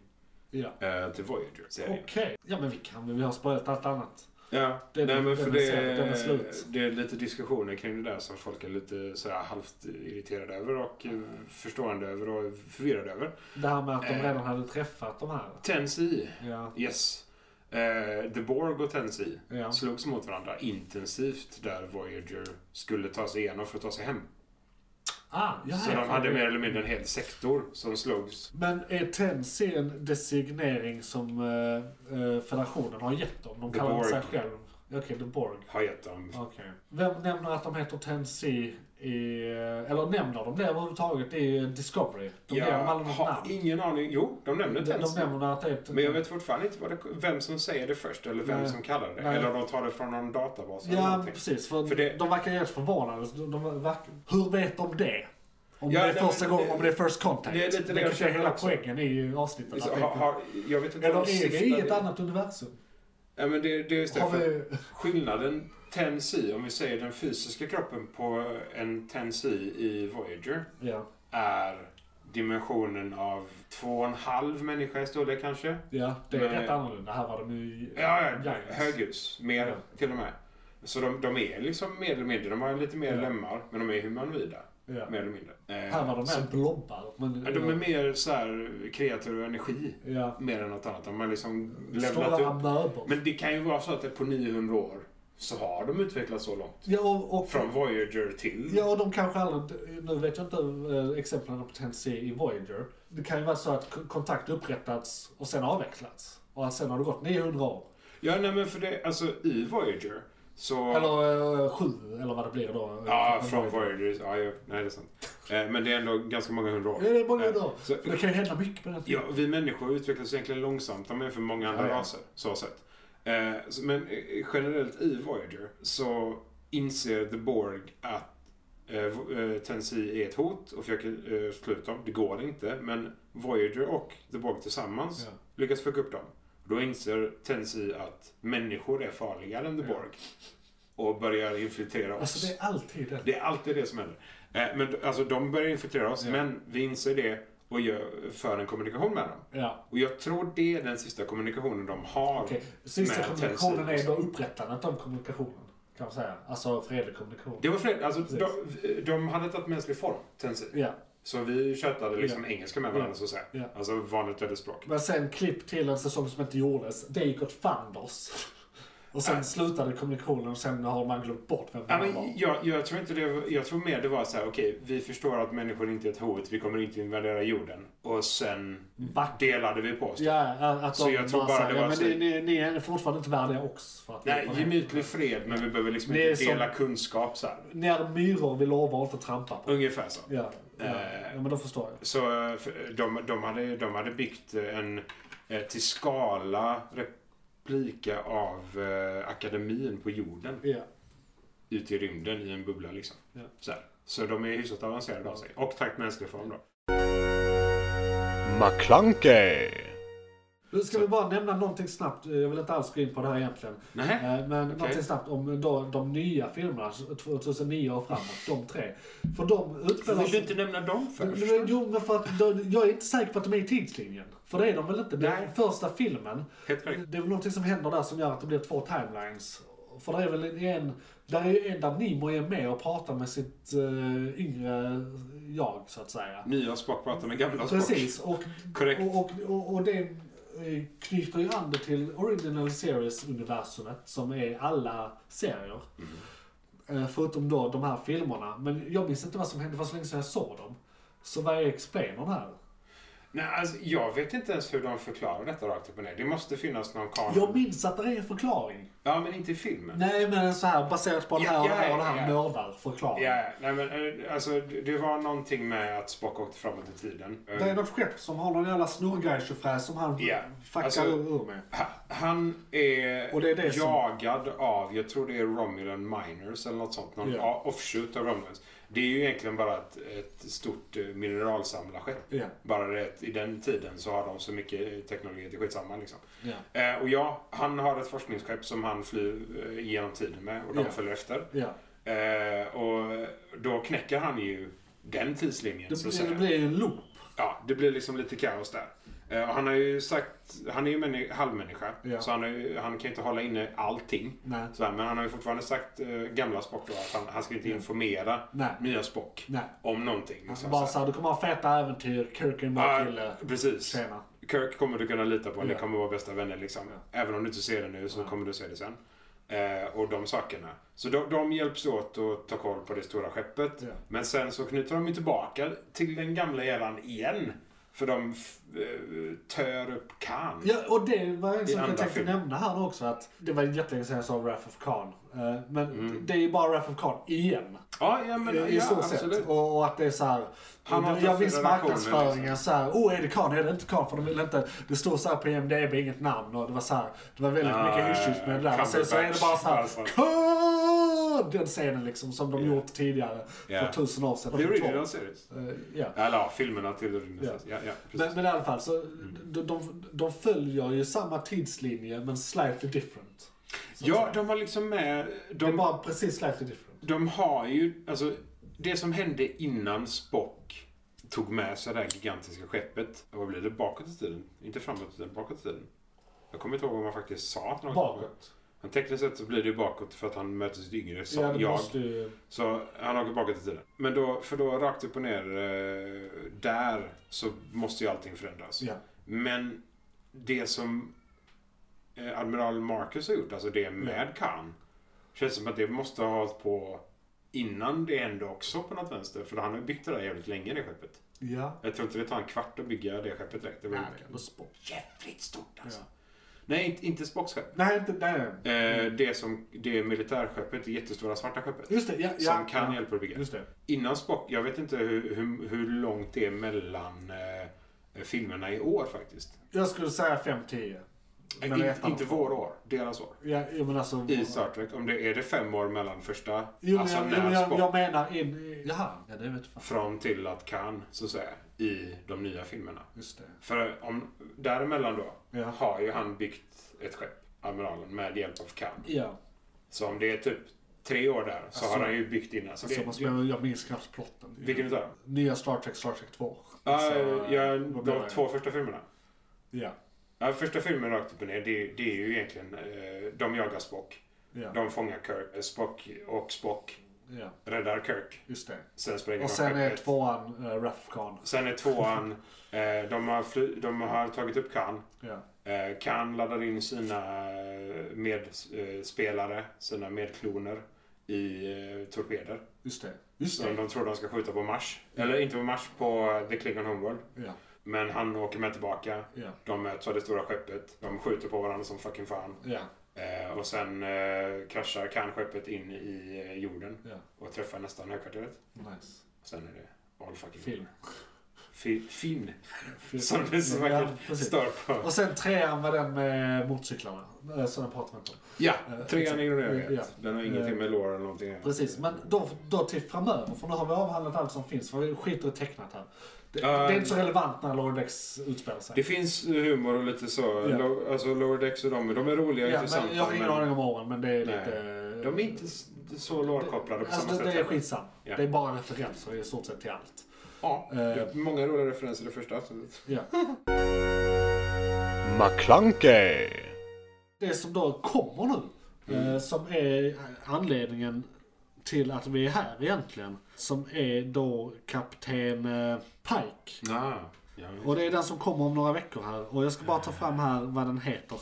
Speaker 1: Ja.
Speaker 7: eh, till Voyager-serien.
Speaker 1: Okej. Ja men vi kan väl, vi har spoilat allt annat.
Speaker 7: Ja,
Speaker 1: Den-
Speaker 7: nej men
Speaker 1: den
Speaker 7: för
Speaker 1: är
Speaker 7: det,
Speaker 1: slut, den är slut.
Speaker 7: det är lite diskussioner kring det där som folk är lite så här halvt irriterade över och eh, förstående över och förvirrade över.
Speaker 1: Det här med att de
Speaker 7: Eh.
Speaker 1: redan hade träffat de här.
Speaker 7: Tensi,
Speaker 1: Ja.
Speaker 7: yes. Eh, The Borg och Tensi
Speaker 1: Ja.
Speaker 7: slogs mot varandra intensivt där Voyager skulle ta sig igenom för att ta sig hem.
Speaker 1: Ah, ja,
Speaker 7: så
Speaker 1: ja,
Speaker 7: de
Speaker 1: fan,
Speaker 7: hade
Speaker 1: det-
Speaker 7: mer eller mindre en hel sektor som slogs.
Speaker 1: Men är Tensi en designering som eh, eh, federationen har gett dem? De
Speaker 7: The
Speaker 1: kallar inte sig
Speaker 7: Borg.
Speaker 1: själv... Okej, The Borg.
Speaker 7: Har gett dem.
Speaker 1: Okej. Vem nämner att de heter Tensi i... eh, Eller nämner de det överhuvudtaget i Discovery? De ger dem
Speaker 7: jag
Speaker 1: aldrig något
Speaker 7: har
Speaker 1: namn.
Speaker 7: ingen aning. Jo, de nämnde
Speaker 1: De, de
Speaker 7: Tensi.
Speaker 1: nämner att det är... ett-
Speaker 7: Men jag vet fortfarande inte vad det, vem som säger det först eller vem
Speaker 1: Nej.
Speaker 7: som kallar det.
Speaker 1: Nej.
Speaker 7: Eller de tar det från någon databas eller
Speaker 1: Ja,
Speaker 7: någonting.
Speaker 1: precis. För,
Speaker 7: För det-
Speaker 1: de verkar helt förvånade. Så De, de verkar, hur vet de det? Om
Speaker 7: Ja,
Speaker 1: det är
Speaker 7: nej,
Speaker 1: första
Speaker 7: men
Speaker 1: gången,
Speaker 7: det-
Speaker 1: om det är first contact.
Speaker 7: det är lite det jag
Speaker 1: kanske är
Speaker 7: känner
Speaker 1: hela
Speaker 7: också.
Speaker 1: poängen i avsnittet.
Speaker 7: Så,
Speaker 1: att det
Speaker 7: har,
Speaker 1: är-
Speaker 7: har, jag vet inte
Speaker 1: Eller
Speaker 7: om de
Speaker 1: är vi i
Speaker 7: syftade-
Speaker 1: ett annat universum?
Speaker 7: Ja, men det, det är just det.
Speaker 1: Har
Speaker 7: För
Speaker 1: vi...
Speaker 7: Skillnaden tensi, om vi säger den fysiska kroppen på en tensi i Voyager,
Speaker 1: Ja,
Speaker 7: är dimensionen av två och en halv människa i storlek kanske.
Speaker 1: ja det är
Speaker 7: Men-
Speaker 1: rätt annorlunda. Här var de ju...
Speaker 7: Ja, ja
Speaker 1: giants.
Speaker 7: höghus. Mer
Speaker 1: Ja.
Speaker 7: till och med. Så de, de är liksom mer eller mindre, de har lite mer
Speaker 1: Ja.
Speaker 7: lemmar, men de är humanoida.
Speaker 1: Ja.
Speaker 7: mer eller mindre. Eh,
Speaker 1: Här var de
Speaker 7: så-
Speaker 1: mer blobbar. Men,
Speaker 7: Ja, de är mer så här kreativ energi.
Speaker 1: ja.
Speaker 7: Mer än något annat. De har liksom levlat
Speaker 1: Stora
Speaker 7: upp.
Speaker 1: amöbor.
Speaker 7: Men det kan ju vara så att på 900 år så har de utvecklats så långt.
Speaker 1: Ja, och, och,
Speaker 7: Från Voyager till...
Speaker 1: ja, och de kanske aldrig... Nu vet jag inte eh, exemplen på Tennessee i Voyager. Det kan ju vara så att k- kontakt upprättats och sen avvecklats. Och sen har det gått 900 år.
Speaker 7: Ja, nej men för det, alltså i Voyager så...
Speaker 1: Eller eh, sju, eller vad det blir då.
Speaker 7: Ja, från Voyager. Ja, ja, nej det är sant. Eh, Men det är ändå ganska många hundra år. Eh,
Speaker 1: Ja, det är många då.
Speaker 7: Så-
Speaker 1: För det kan ju hända mycket på den
Speaker 7: Ja, vi människor utvecklas egentligen långsamt om jämför med många andra
Speaker 4: Ja, ja.
Speaker 7: raser. Så sett. Eh, så- Men eh, generellt i Voyager så inser The Borg att eh, Vo- eh, Tennessee är ett hot och försöker eh, slå ut dem. Det går inte, men Voyager och The Borg tillsammans
Speaker 1: Ja.
Speaker 7: lyckas fucka upp dem. Då inser Tennessee att människor är farligare än The Borg och börjar infiltrera oss.
Speaker 1: Alltså det är alltid den.
Speaker 7: Det är alltid det som händer. Eh, Men alltså, de börjar infiltrera oss,
Speaker 1: Ja.
Speaker 7: men vi inser det och gör, för en kommunikation med dem.
Speaker 1: Ja.
Speaker 7: Och jag tror det är den sista kommunikationen de har.
Speaker 1: Okej, sista
Speaker 7: med
Speaker 1: kommunikationen är
Speaker 7: Tennessee.
Speaker 1: då upprättandet av kommunikationen. Kan man säga. Alltså fredlig kommunikation.
Speaker 7: Det var fred, alltså,
Speaker 1: Precis.
Speaker 7: de, de hade tagit mänsklig form, Tennessee.
Speaker 1: Ja.
Speaker 7: Så vi tjötade liksom engelska med varandra,
Speaker 1: Ja.
Speaker 7: så att säga.
Speaker 1: Ja.
Speaker 7: Alltså vanligt ödesspråk.
Speaker 1: Men sen klipp till en säsong som inte gjordes. Det gick åt fanders. Och sen slutade kommunikationen och sen har man glömt bort vem
Speaker 7: Äh. Ja,
Speaker 1: man var.
Speaker 7: men jag, jag, tror inte det, var- jag tror mer det var så här, okej, vi förstår att människor inte är ett hot, vi kommer inte invadera jorden. Och sen
Speaker 1: Back.
Speaker 7: delade vi på oss.
Speaker 1: Ja, att de
Speaker 7: Så jag tror bara
Speaker 1: säger,
Speaker 7: det var
Speaker 1: "Ja, men
Speaker 7: så-
Speaker 1: ni, ni, ni är fortfarande inte värdiga oss. För att vi
Speaker 7: Nej,
Speaker 1: var här."
Speaker 7: gemytlig fred, men vi behöver liksom
Speaker 1: Det är
Speaker 7: inte
Speaker 1: som-
Speaker 7: dela kunskap så här.
Speaker 1: Ni är myror vi lovar att inte trampa på.
Speaker 7: Ungefär så.
Speaker 1: Ja, ja.
Speaker 7: Eh.
Speaker 1: ja men då förstår jag.
Speaker 7: Så eh, för- de, de, hade, de hade byggt en eh, till skala replika av eh, akademin på jorden
Speaker 1: Ja.
Speaker 7: ute i rymden i en bubbla liksom.
Speaker 1: Ja.
Speaker 7: Så, här. så de är hyfsat avancerade av sig. Och tagit mänsklig form då.
Speaker 8: McClunkey.
Speaker 1: Nu ska vi bara nämna någonting snabbt. Jag vill inte alls gå in på det här egentligen.
Speaker 7: Nej.
Speaker 1: Eh, Men någonting snabbt om då, de nya filmerna, 2009 och framåt, de tre. För de utspelar
Speaker 7: Vill du inte nämna dem för?
Speaker 1: Men- Jo, men för att då, jag är inte säker på att de är i tidslinjen. För det är de väl inte? Den
Speaker 7: Nej.
Speaker 1: första filmen,
Speaker 7: Helt korrekt.
Speaker 1: det är väl någonting som händer där som gör att det blir två timelines. För det är väl en, där är ju en där Nimoy är med och pratar med sitt eh, yngre jag, så att säga.
Speaker 7: Nya Spock pratar med gamla Spock.
Speaker 1: Precis, och,
Speaker 7: Alltså, Korrekt.
Speaker 1: och, och, och, och det eh, knyter ju an det till Original Series-universumet som är alla serier.
Speaker 7: Mm.
Speaker 1: Eh, Förutom då de här filmerna. Men jag minns inte vad som hände, det var så länge sedan jag såg dem. Så vad är explainern här?
Speaker 7: Nej, alltså, jag vet inte ens hur de förklarar detta rakt upp och ner. Det måste finnas någon kanon.
Speaker 1: Jag minns att det är en förklaring.
Speaker 7: Ja, men inte i filmen.
Speaker 1: Nej men så här baserat på det här och det här och det här mördarförklaring.
Speaker 7: Ja, nej men eh, alltså det det var någonting med att Spock åkte framåt i tiden. Eh,
Speaker 1: Det är något skepp som har någon jävla snurrgajtjofräs som han
Speaker 7: Ja,
Speaker 1: fuckar
Speaker 7: alltså-
Speaker 1: ur med.
Speaker 7: ha- Han är,
Speaker 1: Och det är det som-
Speaker 7: jagad av, jag tror det är Romulan Miners eller något sånt. Någon
Speaker 1: Ja.
Speaker 7: a- offshoot av Romulans. Det är ju egentligen bara ett, ett stort eh, mineralsamlarskepp.
Speaker 1: Ja,
Speaker 7: Bara det att i den tiden så har de så mycket eh, teknologi att det är skitsamma liksom.
Speaker 1: ja,
Speaker 7: Eh, och ja, han har ett forskningsskepp som han flyr eh, genom tiden med och de
Speaker 1: Ja.
Speaker 7: följer efter.
Speaker 1: ja.
Speaker 7: Eh, och då knäcker han ju den tidslinjen så att
Speaker 1: Det,
Speaker 7: säga.
Speaker 1: det blir ju en loop.
Speaker 7: Ja, det blir liksom lite kaos där. Eh, och han har ju sagt, han är ju männi- halvmänniska,
Speaker 1: Ja.
Speaker 7: så han, har ju, han kan ju inte hålla inne allting.
Speaker 1: Nej.
Speaker 7: Så här, men han har ju fortfarande sagt, eh, gamla Spock då, att han, han ska inte informera
Speaker 1: Nej.
Speaker 7: nya Spock
Speaker 1: Nej.
Speaker 7: om någonting.
Speaker 1: Alltså
Speaker 7: liksom,
Speaker 1: bara
Speaker 7: så
Speaker 1: såhär, du kommer ha feta äventyr, Kirk är en bra
Speaker 7: här.
Speaker 1: kille.
Speaker 7: Ja, precis.
Speaker 1: Tjena.
Speaker 7: Kirk kommer du kunna lita på, ni
Speaker 1: Ja.
Speaker 7: kommer vara bästa vänner liksom. Även om du inte ser det nu så kommer du se det sen. Eh, och de sakerna. Så de, de hjälps åt att ta koll på det stora skeppet.
Speaker 1: Ja.
Speaker 7: Men sen så knyter de ju tillbaka till den gamla eran igen. För de f- eh, tör upp Khan.
Speaker 1: Ja, och det var en sak
Speaker 7: andra
Speaker 1: jag tänkte
Speaker 7: film.
Speaker 1: nämna här nu också. Att det var jättelänge sedan jag sa Wrath of Khan. Eh, Men det är ju bara Wrath of Khan igen. eh,
Speaker 7: Ja, ja Mm. men
Speaker 1: I
Speaker 7: ja,
Speaker 1: i så
Speaker 7: absolut.
Speaker 1: sätt. Och, och att det är såhär.
Speaker 7: Han har
Speaker 1: Jag
Speaker 7: haft
Speaker 1: minns
Speaker 7: relationer,
Speaker 1: marknadsföringen
Speaker 7: liksom.
Speaker 1: såhär. Oh, är det Khan? Är det inte Khan? För de ville inte. Det stod såhär på IMDB, inget namn. Och det var såhär. Det var väldigt
Speaker 7: Ah,
Speaker 1: mycket issues med det där. Och sen så är det bara såhär.
Speaker 7: Cumberbatch, alltså.
Speaker 1: Khan! Den scenen liksom som de gjort tidigare.
Speaker 7: Ja.
Speaker 1: För tusen år sedan.
Speaker 7: The
Speaker 1: Två.
Speaker 7: Original Series.
Speaker 1: Eh, Ja.
Speaker 7: Eller ja, filmerna till The Original
Speaker 1: Ja.
Speaker 7: Series. Ja, ja, precis. Mm.
Speaker 1: Men, men i alla fall, så de, de, de följer ju samma tidslinje men slightly different. så att
Speaker 7: ja,
Speaker 1: säga.
Speaker 7: de har liksom med...
Speaker 1: Det är
Speaker 7: De,
Speaker 1: bara precis slightly different.
Speaker 7: de har ju... Alltså, det som hände innan Spock tog med sig det här gigantiska skeppet. Vad blir det? Bakåt i tiden? Inte framåt i tiden, bakåt i tiden. Jag kommer inte ihåg vad man faktiskt sa. att de-
Speaker 1: Bakåt.
Speaker 7: Men tekniskt sett så blir det ju bakåt för att han möter sitt yngre så
Speaker 1: ja, det
Speaker 7: jag.
Speaker 1: måste ju...
Speaker 7: Så han åker bakåt i tiden. Men då, för då rakt upp och ner eh, där så måste ju allting förändras.
Speaker 1: Ja.
Speaker 7: Men det som eh, Admiral Marcus har gjort, alltså det
Speaker 1: Mm.
Speaker 7: med Khan, känns som att det måste ha hållit på innan det hände också på något vänster. För han har ju byggt det där jävligt länge, det skeppet.
Speaker 1: Ja.
Speaker 7: Jag tror inte det tar en kvart att bygga det skeppet direkt. Det var ju
Speaker 1: Nej, det var sport.
Speaker 7: jävligt stort alltså.
Speaker 1: Ja.
Speaker 7: Nej, inte, inte Spocks skepp.
Speaker 1: Nej, inte... Nej.
Speaker 7: Eh, det som det militärskeppet, det jättestora svarta skeppet.
Speaker 1: Just det, Mm. ja. ja
Speaker 7: som kan
Speaker 1: ja.
Speaker 7: hjälpa att bygga.
Speaker 1: Just det.
Speaker 7: Innan Spock, jag vet inte hur, hur, hur långt det är mellan eh, filmerna i år faktiskt.
Speaker 1: Jag skulle säga 5-10.
Speaker 7: Eh,
Speaker 1: Men
Speaker 7: in,
Speaker 1: ettan-
Speaker 7: inte vår år, deras år.
Speaker 1: Ja, jo, men alltså...
Speaker 7: I Star Trek, om det är det fem år mellan första,
Speaker 1: Jo, men
Speaker 7: alltså
Speaker 1: jag, jo,
Speaker 7: när
Speaker 1: men jag,
Speaker 7: Spock,
Speaker 1: jag menar in i... Jaha. Ja, det vet fan.
Speaker 7: fram till att Khan, så att säga, i de nya filmerna.
Speaker 1: Just det.
Speaker 7: För om, däremellan då,
Speaker 1: Ja.
Speaker 7: har ju han byggt ett skepp, Admiralen, med hjälp av Khan.
Speaker 1: Ja.
Speaker 7: Så om det är typ tre år där, så
Speaker 1: Alltså,
Speaker 7: har han ju byggt innan. Så
Speaker 1: Alltså,
Speaker 7: det,
Speaker 1: man spelar, jag minns knappt plotten.
Speaker 7: vilken utav dem?
Speaker 1: Nya Star Trek, Star Trek 2.
Speaker 7: Ja,
Speaker 1: Så, eh,
Speaker 7: ja,
Speaker 1: Alltså, vad blir
Speaker 7: de
Speaker 1: det?
Speaker 7: två första filmerna.
Speaker 1: Ja.
Speaker 7: Ja, första filmen rakt upp och ner, det, det är ju egentligen... Eh, de jagar Spock.
Speaker 1: Ja.
Speaker 7: De fångar Kirk, eh, Spock och Spock
Speaker 1: ja.
Speaker 7: räddar Kirk.
Speaker 1: Just det.
Speaker 7: Sen spränger
Speaker 1: Och
Speaker 7: de
Speaker 1: sen är
Speaker 7: skeppet.
Speaker 1: tvåan äh, Rafcon.
Speaker 7: Sen är tvåan... Eh, de, har fly, de har tagit upp Khan.
Speaker 1: Ja.
Speaker 7: Eh, Khan laddar in sina eh, medspelare, sina medkloner, i eh, torpeder.
Speaker 1: Just det. Just
Speaker 7: Som
Speaker 1: det. Mm.
Speaker 7: de tror de ska skjuta på Mars. Eller inte på Mars, på eh, The Klingon Homeworld.
Speaker 1: Ja.
Speaker 7: Men han åker med tillbaka.
Speaker 1: Ja.
Speaker 7: De möts av det stora skeppet. De skjuter på varandra som fucking fan.
Speaker 1: Ja.
Speaker 7: Eh, och sen eh, kraschar kanskeppet in i eh, jorden
Speaker 1: Ja.
Speaker 7: och träffar nästan högkvarteret.
Speaker 1: Nice.
Speaker 7: Och Sen är det all fucking
Speaker 1: Film.
Speaker 7: Fi- Finn.
Speaker 1: Film.
Speaker 7: Som det så
Speaker 1: ja,
Speaker 7: vackert
Speaker 1: precis.
Speaker 7: står på.
Speaker 1: Och sen trean var den med motorcyklarna. eh, Som jag pratade med om.
Speaker 7: Ja,
Speaker 1: Eh,
Speaker 7: trean ignorerar
Speaker 1: Ja.
Speaker 7: jag. Den har ingenting med lore eller någonting. att göra.
Speaker 1: Precis, men då, då till framöver, för nu har vi avhandlat allt som finns, för vi skiter i tecknat här. Det,
Speaker 7: Ja,
Speaker 1: det är inte så relevant när Lordex utspelar sig.
Speaker 7: Det finns humor och lite så.
Speaker 1: Ja.
Speaker 7: Lo- Alltså Lower Decks och de, de är roliga och
Speaker 1: ja,
Speaker 7: intressanta.
Speaker 1: men jag har ingen aning om åren, men det är
Speaker 7: Nej.
Speaker 1: lite...
Speaker 7: De är inte s- så lore-kopplade på
Speaker 1: alltså,
Speaker 7: samma
Speaker 1: det,
Speaker 7: sätt.
Speaker 1: Det är
Speaker 7: heller.
Speaker 1: skitsam.
Speaker 7: Ja.
Speaker 1: Det är bara referenser i stort sett till allt.
Speaker 7: Ja, det är
Speaker 1: Eh.
Speaker 7: många roliga referenser i det första avsnittet.
Speaker 1: Ja.
Speaker 8: McClunkey,
Speaker 1: Det som då kommer nu,
Speaker 7: Mm.
Speaker 1: eh, som är eh, anledningen till att vi är här egentligen, som är då kapten eh, Pike.
Speaker 7: Ah, ja.
Speaker 1: Och det är den som kommer om några veckor här. Och jag ska bara ta fram här vad den heter.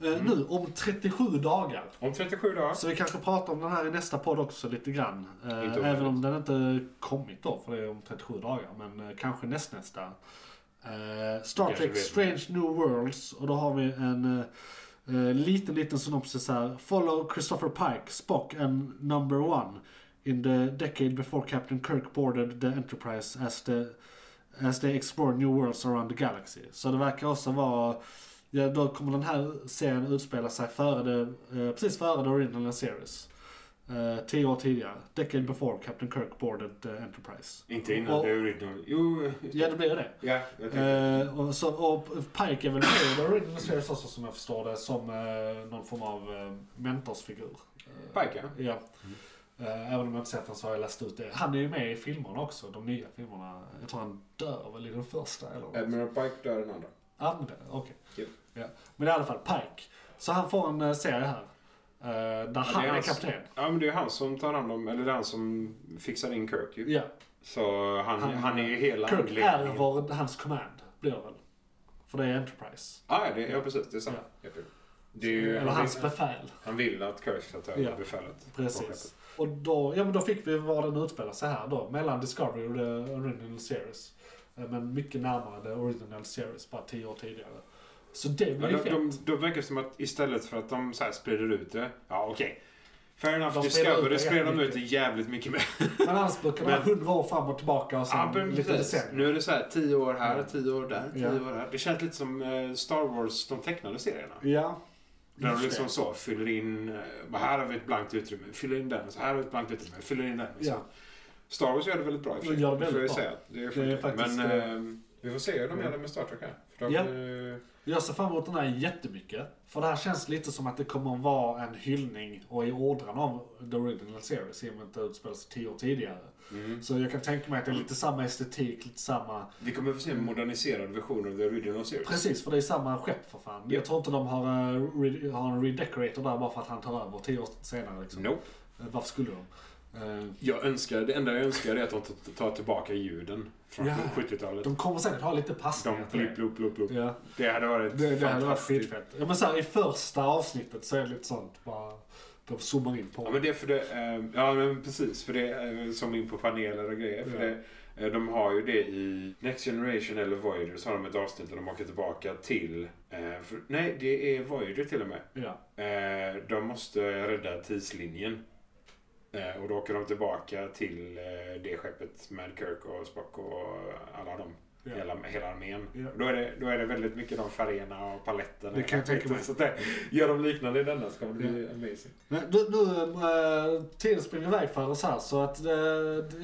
Speaker 7: Mm.
Speaker 1: Eh, Nu om 37 dagar.
Speaker 7: Om 37 dagar.
Speaker 1: Så vi kanske pratar om den här i nästa podd också lite grann. Eh,
Speaker 7: Inte omöjligt.
Speaker 1: även om den inte kommit då, för det är om 37 dagar. Men eh, kanske nästnästa. Eh, Star
Speaker 7: Kanske
Speaker 1: Trek
Speaker 7: vet
Speaker 1: Strange New Worlds. Och då har vi en eh, eh, liten, liten synopsis här. Follow Christopher Pike, Spock and number one. In the decade before Captain Kirk boarded the Enterprise as the As they explore new worlds around the galaxy. Så det verkar också vara... Ja, då kommer den här serien utspela sig före det, eh, precis före the original series. Eh, tio år tidigare. Decade before Captain Kirk boarded the Enterprise.
Speaker 7: Inte innan
Speaker 1: Och-
Speaker 7: det är original. Jo, just det.
Speaker 1: Ja, det blir det.
Speaker 7: ja, jag tänkte.
Speaker 1: Eh, och, så, och Pike är väl med i the original series också som jag förstår det. Som eh, någon form av eh, mentorsfigur. Eh,
Speaker 7: Pike, ja.
Speaker 1: Ja. Eh, Även om jag inte sett den så har jag läst ut det. Han är ju med i filmerna också, de nya filmerna. Jag tror han dör väl i den första eller?
Speaker 7: Admiral Pike dör den andra.
Speaker 1: Andra? Okej.
Speaker 7: Japp.
Speaker 1: Ja. Men i alla fall, Pike. Så han får en eh, serie här. eh, där han är,
Speaker 7: hans-
Speaker 1: kapten.
Speaker 7: Ja, men det är han som tar hand om, eller det är han som fixar in Kirk ju.
Speaker 1: Ja.
Speaker 7: Så han, han,
Speaker 1: Han-
Speaker 7: är ju hela
Speaker 1: Kirk
Speaker 7: anledningen.
Speaker 1: ärver hans command, blir det väl? För det är Enterprise.
Speaker 7: Ah, ja, det, ja, precis. Det är sant. Ja. Det är ju,
Speaker 1: Eller
Speaker 7: han,
Speaker 1: hans
Speaker 7: vill,
Speaker 1: befäl.
Speaker 7: han vill att Kirk ska ta över
Speaker 1: Ja.
Speaker 7: befälet. på skeppet.
Speaker 1: Precis. Och då, ja, men då fick vi var den utspelar sig här då. Mellan Discovery och the original series. Eh, Men mycket närmare the original series, bara tio år tidigare. Så det blir
Speaker 7: Men
Speaker 1: ju
Speaker 7: de,
Speaker 1: fett.
Speaker 7: de, de verkar som att istället för att de så här sprider ut det. Ja, okej. Fair enough.
Speaker 1: De
Speaker 7: De
Speaker 1: sprider ut det
Speaker 7: Discovery sprider de ut det
Speaker 1: jättemycket.
Speaker 7: jävligt mycket mer.
Speaker 1: Men annars brukar det vara
Speaker 7: Men-
Speaker 1: hundra år fram och tillbaka och sen
Speaker 7: Ja, men
Speaker 1: lite
Speaker 7: precis.
Speaker 1: decennier.
Speaker 7: Nu är det så här 10 år här, 10 år där, 10
Speaker 1: Ja.
Speaker 7: år där. Det känns lite som eh, Star Wars, de tecknade serierna.
Speaker 1: Ja.
Speaker 7: Där de
Speaker 1: Just
Speaker 7: liksom
Speaker 1: det.
Speaker 7: så fyller in, eh, bara här har vi ett blankt utrymme, fyller in den, så här har vi ett blankt utrymme, fyller in den.
Speaker 1: Ja.
Speaker 7: Star Wars gör det väldigt bra i och för
Speaker 1: De
Speaker 7: sig.
Speaker 1: gör det
Speaker 7: får jag
Speaker 1: väldigt bra.
Speaker 7: säga. Det är eh,
Speaker 1: Det är
Speaker 7: faktiskt,
Speaker 1: faktiskt,
Speaker 7: Men eh, vi får se hur de gör det med Star Trek här. För de,
Speaker 1: Ja.
Speaker 7: eh,
Speaker 1: Jag ser fram emot den här jättemycket. För det här känns lite som att det kommer att vara en hyllning och i ådran av The Original Series i och med att det utspelar sig tio år tidigare.
Speaker 7: mm.
Speaker 1: Så jag kan tänka mig att det är lite samma estetik, lite samma...
Speaker 7: Vi kommer få se en moderniserad version av The Original Series.
Speaker 1: Precis, för det är samma skepp för fan. Jag tror inte de har, eh, re- har en redecorator där bara för att han tar över tio år senare. Liksom.
Speaker 7: Nope.
Speaker 1: Eh, Varför skulle de? Eh,
Speaker 7: Jag önskar, det enda jag önskar är att de tar- tar tillbaka ljuden från
Speaker 1: Ja.
Speaker 7: 70-talet.
Speaker 1: De kommer säkert ha lite
Speaker 7: De
Speaker 1: passningar till
Speaker 7: blip,
Speaker 1: det.
Speaker 7: blop, blop, blop.
Speaker 1: Ja,
Speaker 7: Det hade
Speaker 1: det,
Speaker 7: varit
Speaker 1: det hade varit
Speaker 7: fantastiskt.
Speaker 1: skitfett. Ja, men så här, I första avsnittet så är det lite sånt bara, de zoomar in på.
Speaker 7: Ja men det är för det, eh, ja men precis, för det eh, som in på paneler och grejer. För
Speaker 1: Ja.
Speaker 7: det, eh, de har ju det i Next Generation eller Voyager så har de ett avsnitt där de åker tillbaka till, eh, för, nej det är Voyager till och med.
Speaker 1: Ja.
Speaker 7: Eh, de måste rädda tidslinjen. Eh, och då åker de tillbaka till eh, det skeppet med Kirk och Spock och alla dem.
Speaker 1: Ja.
Speaker 7: Hela, hela armén.
Speaker 1: Ja.
Speaker 7: Då, är det, då är det väldigt mycket de färgerna och paletterna.
Speaker 1: Det kan jag tänka mig.
Speaker 7: Så att det, gör de liknande i denna så kommer det bli amazing.
Speaker 1: Men nu, nu eh, tiden springer iväg för oss här så att eh,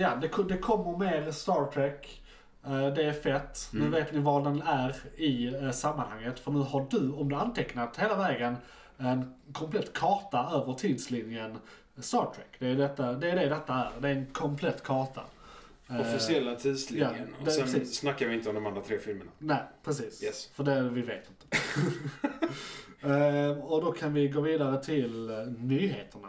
Speaker 1: ja, det, ko- det kommer mer Star Trek. Eh, det är fett. Nu vet ni vad den är i eh, sammanhanget. För nu har du, om du har antecknat hela vägen, en komplett karta över tidslinjen Star Trek. Det är, detta, det är det detta är. Det är en komplett karta. Eh,
Speaker 7: Officiella tidslinjen.
Speaker 1: ja,
Speaker 7: och
Speaker 1: det-
Speaker 7: sen
Speaker 1: precis.
Speaker 7: snackar vi inte om de andra tre filmerna.
Speaker 1: Nej, precis.
Speaker 7: Yes.
Speaker 1: För det vi vet inte. [LAUGHS] Eh, och då kan vi gå vidare till eh, nyheterna.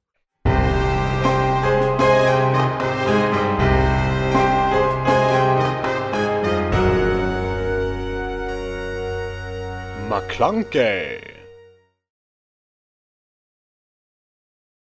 Speaker 8: McClunkey!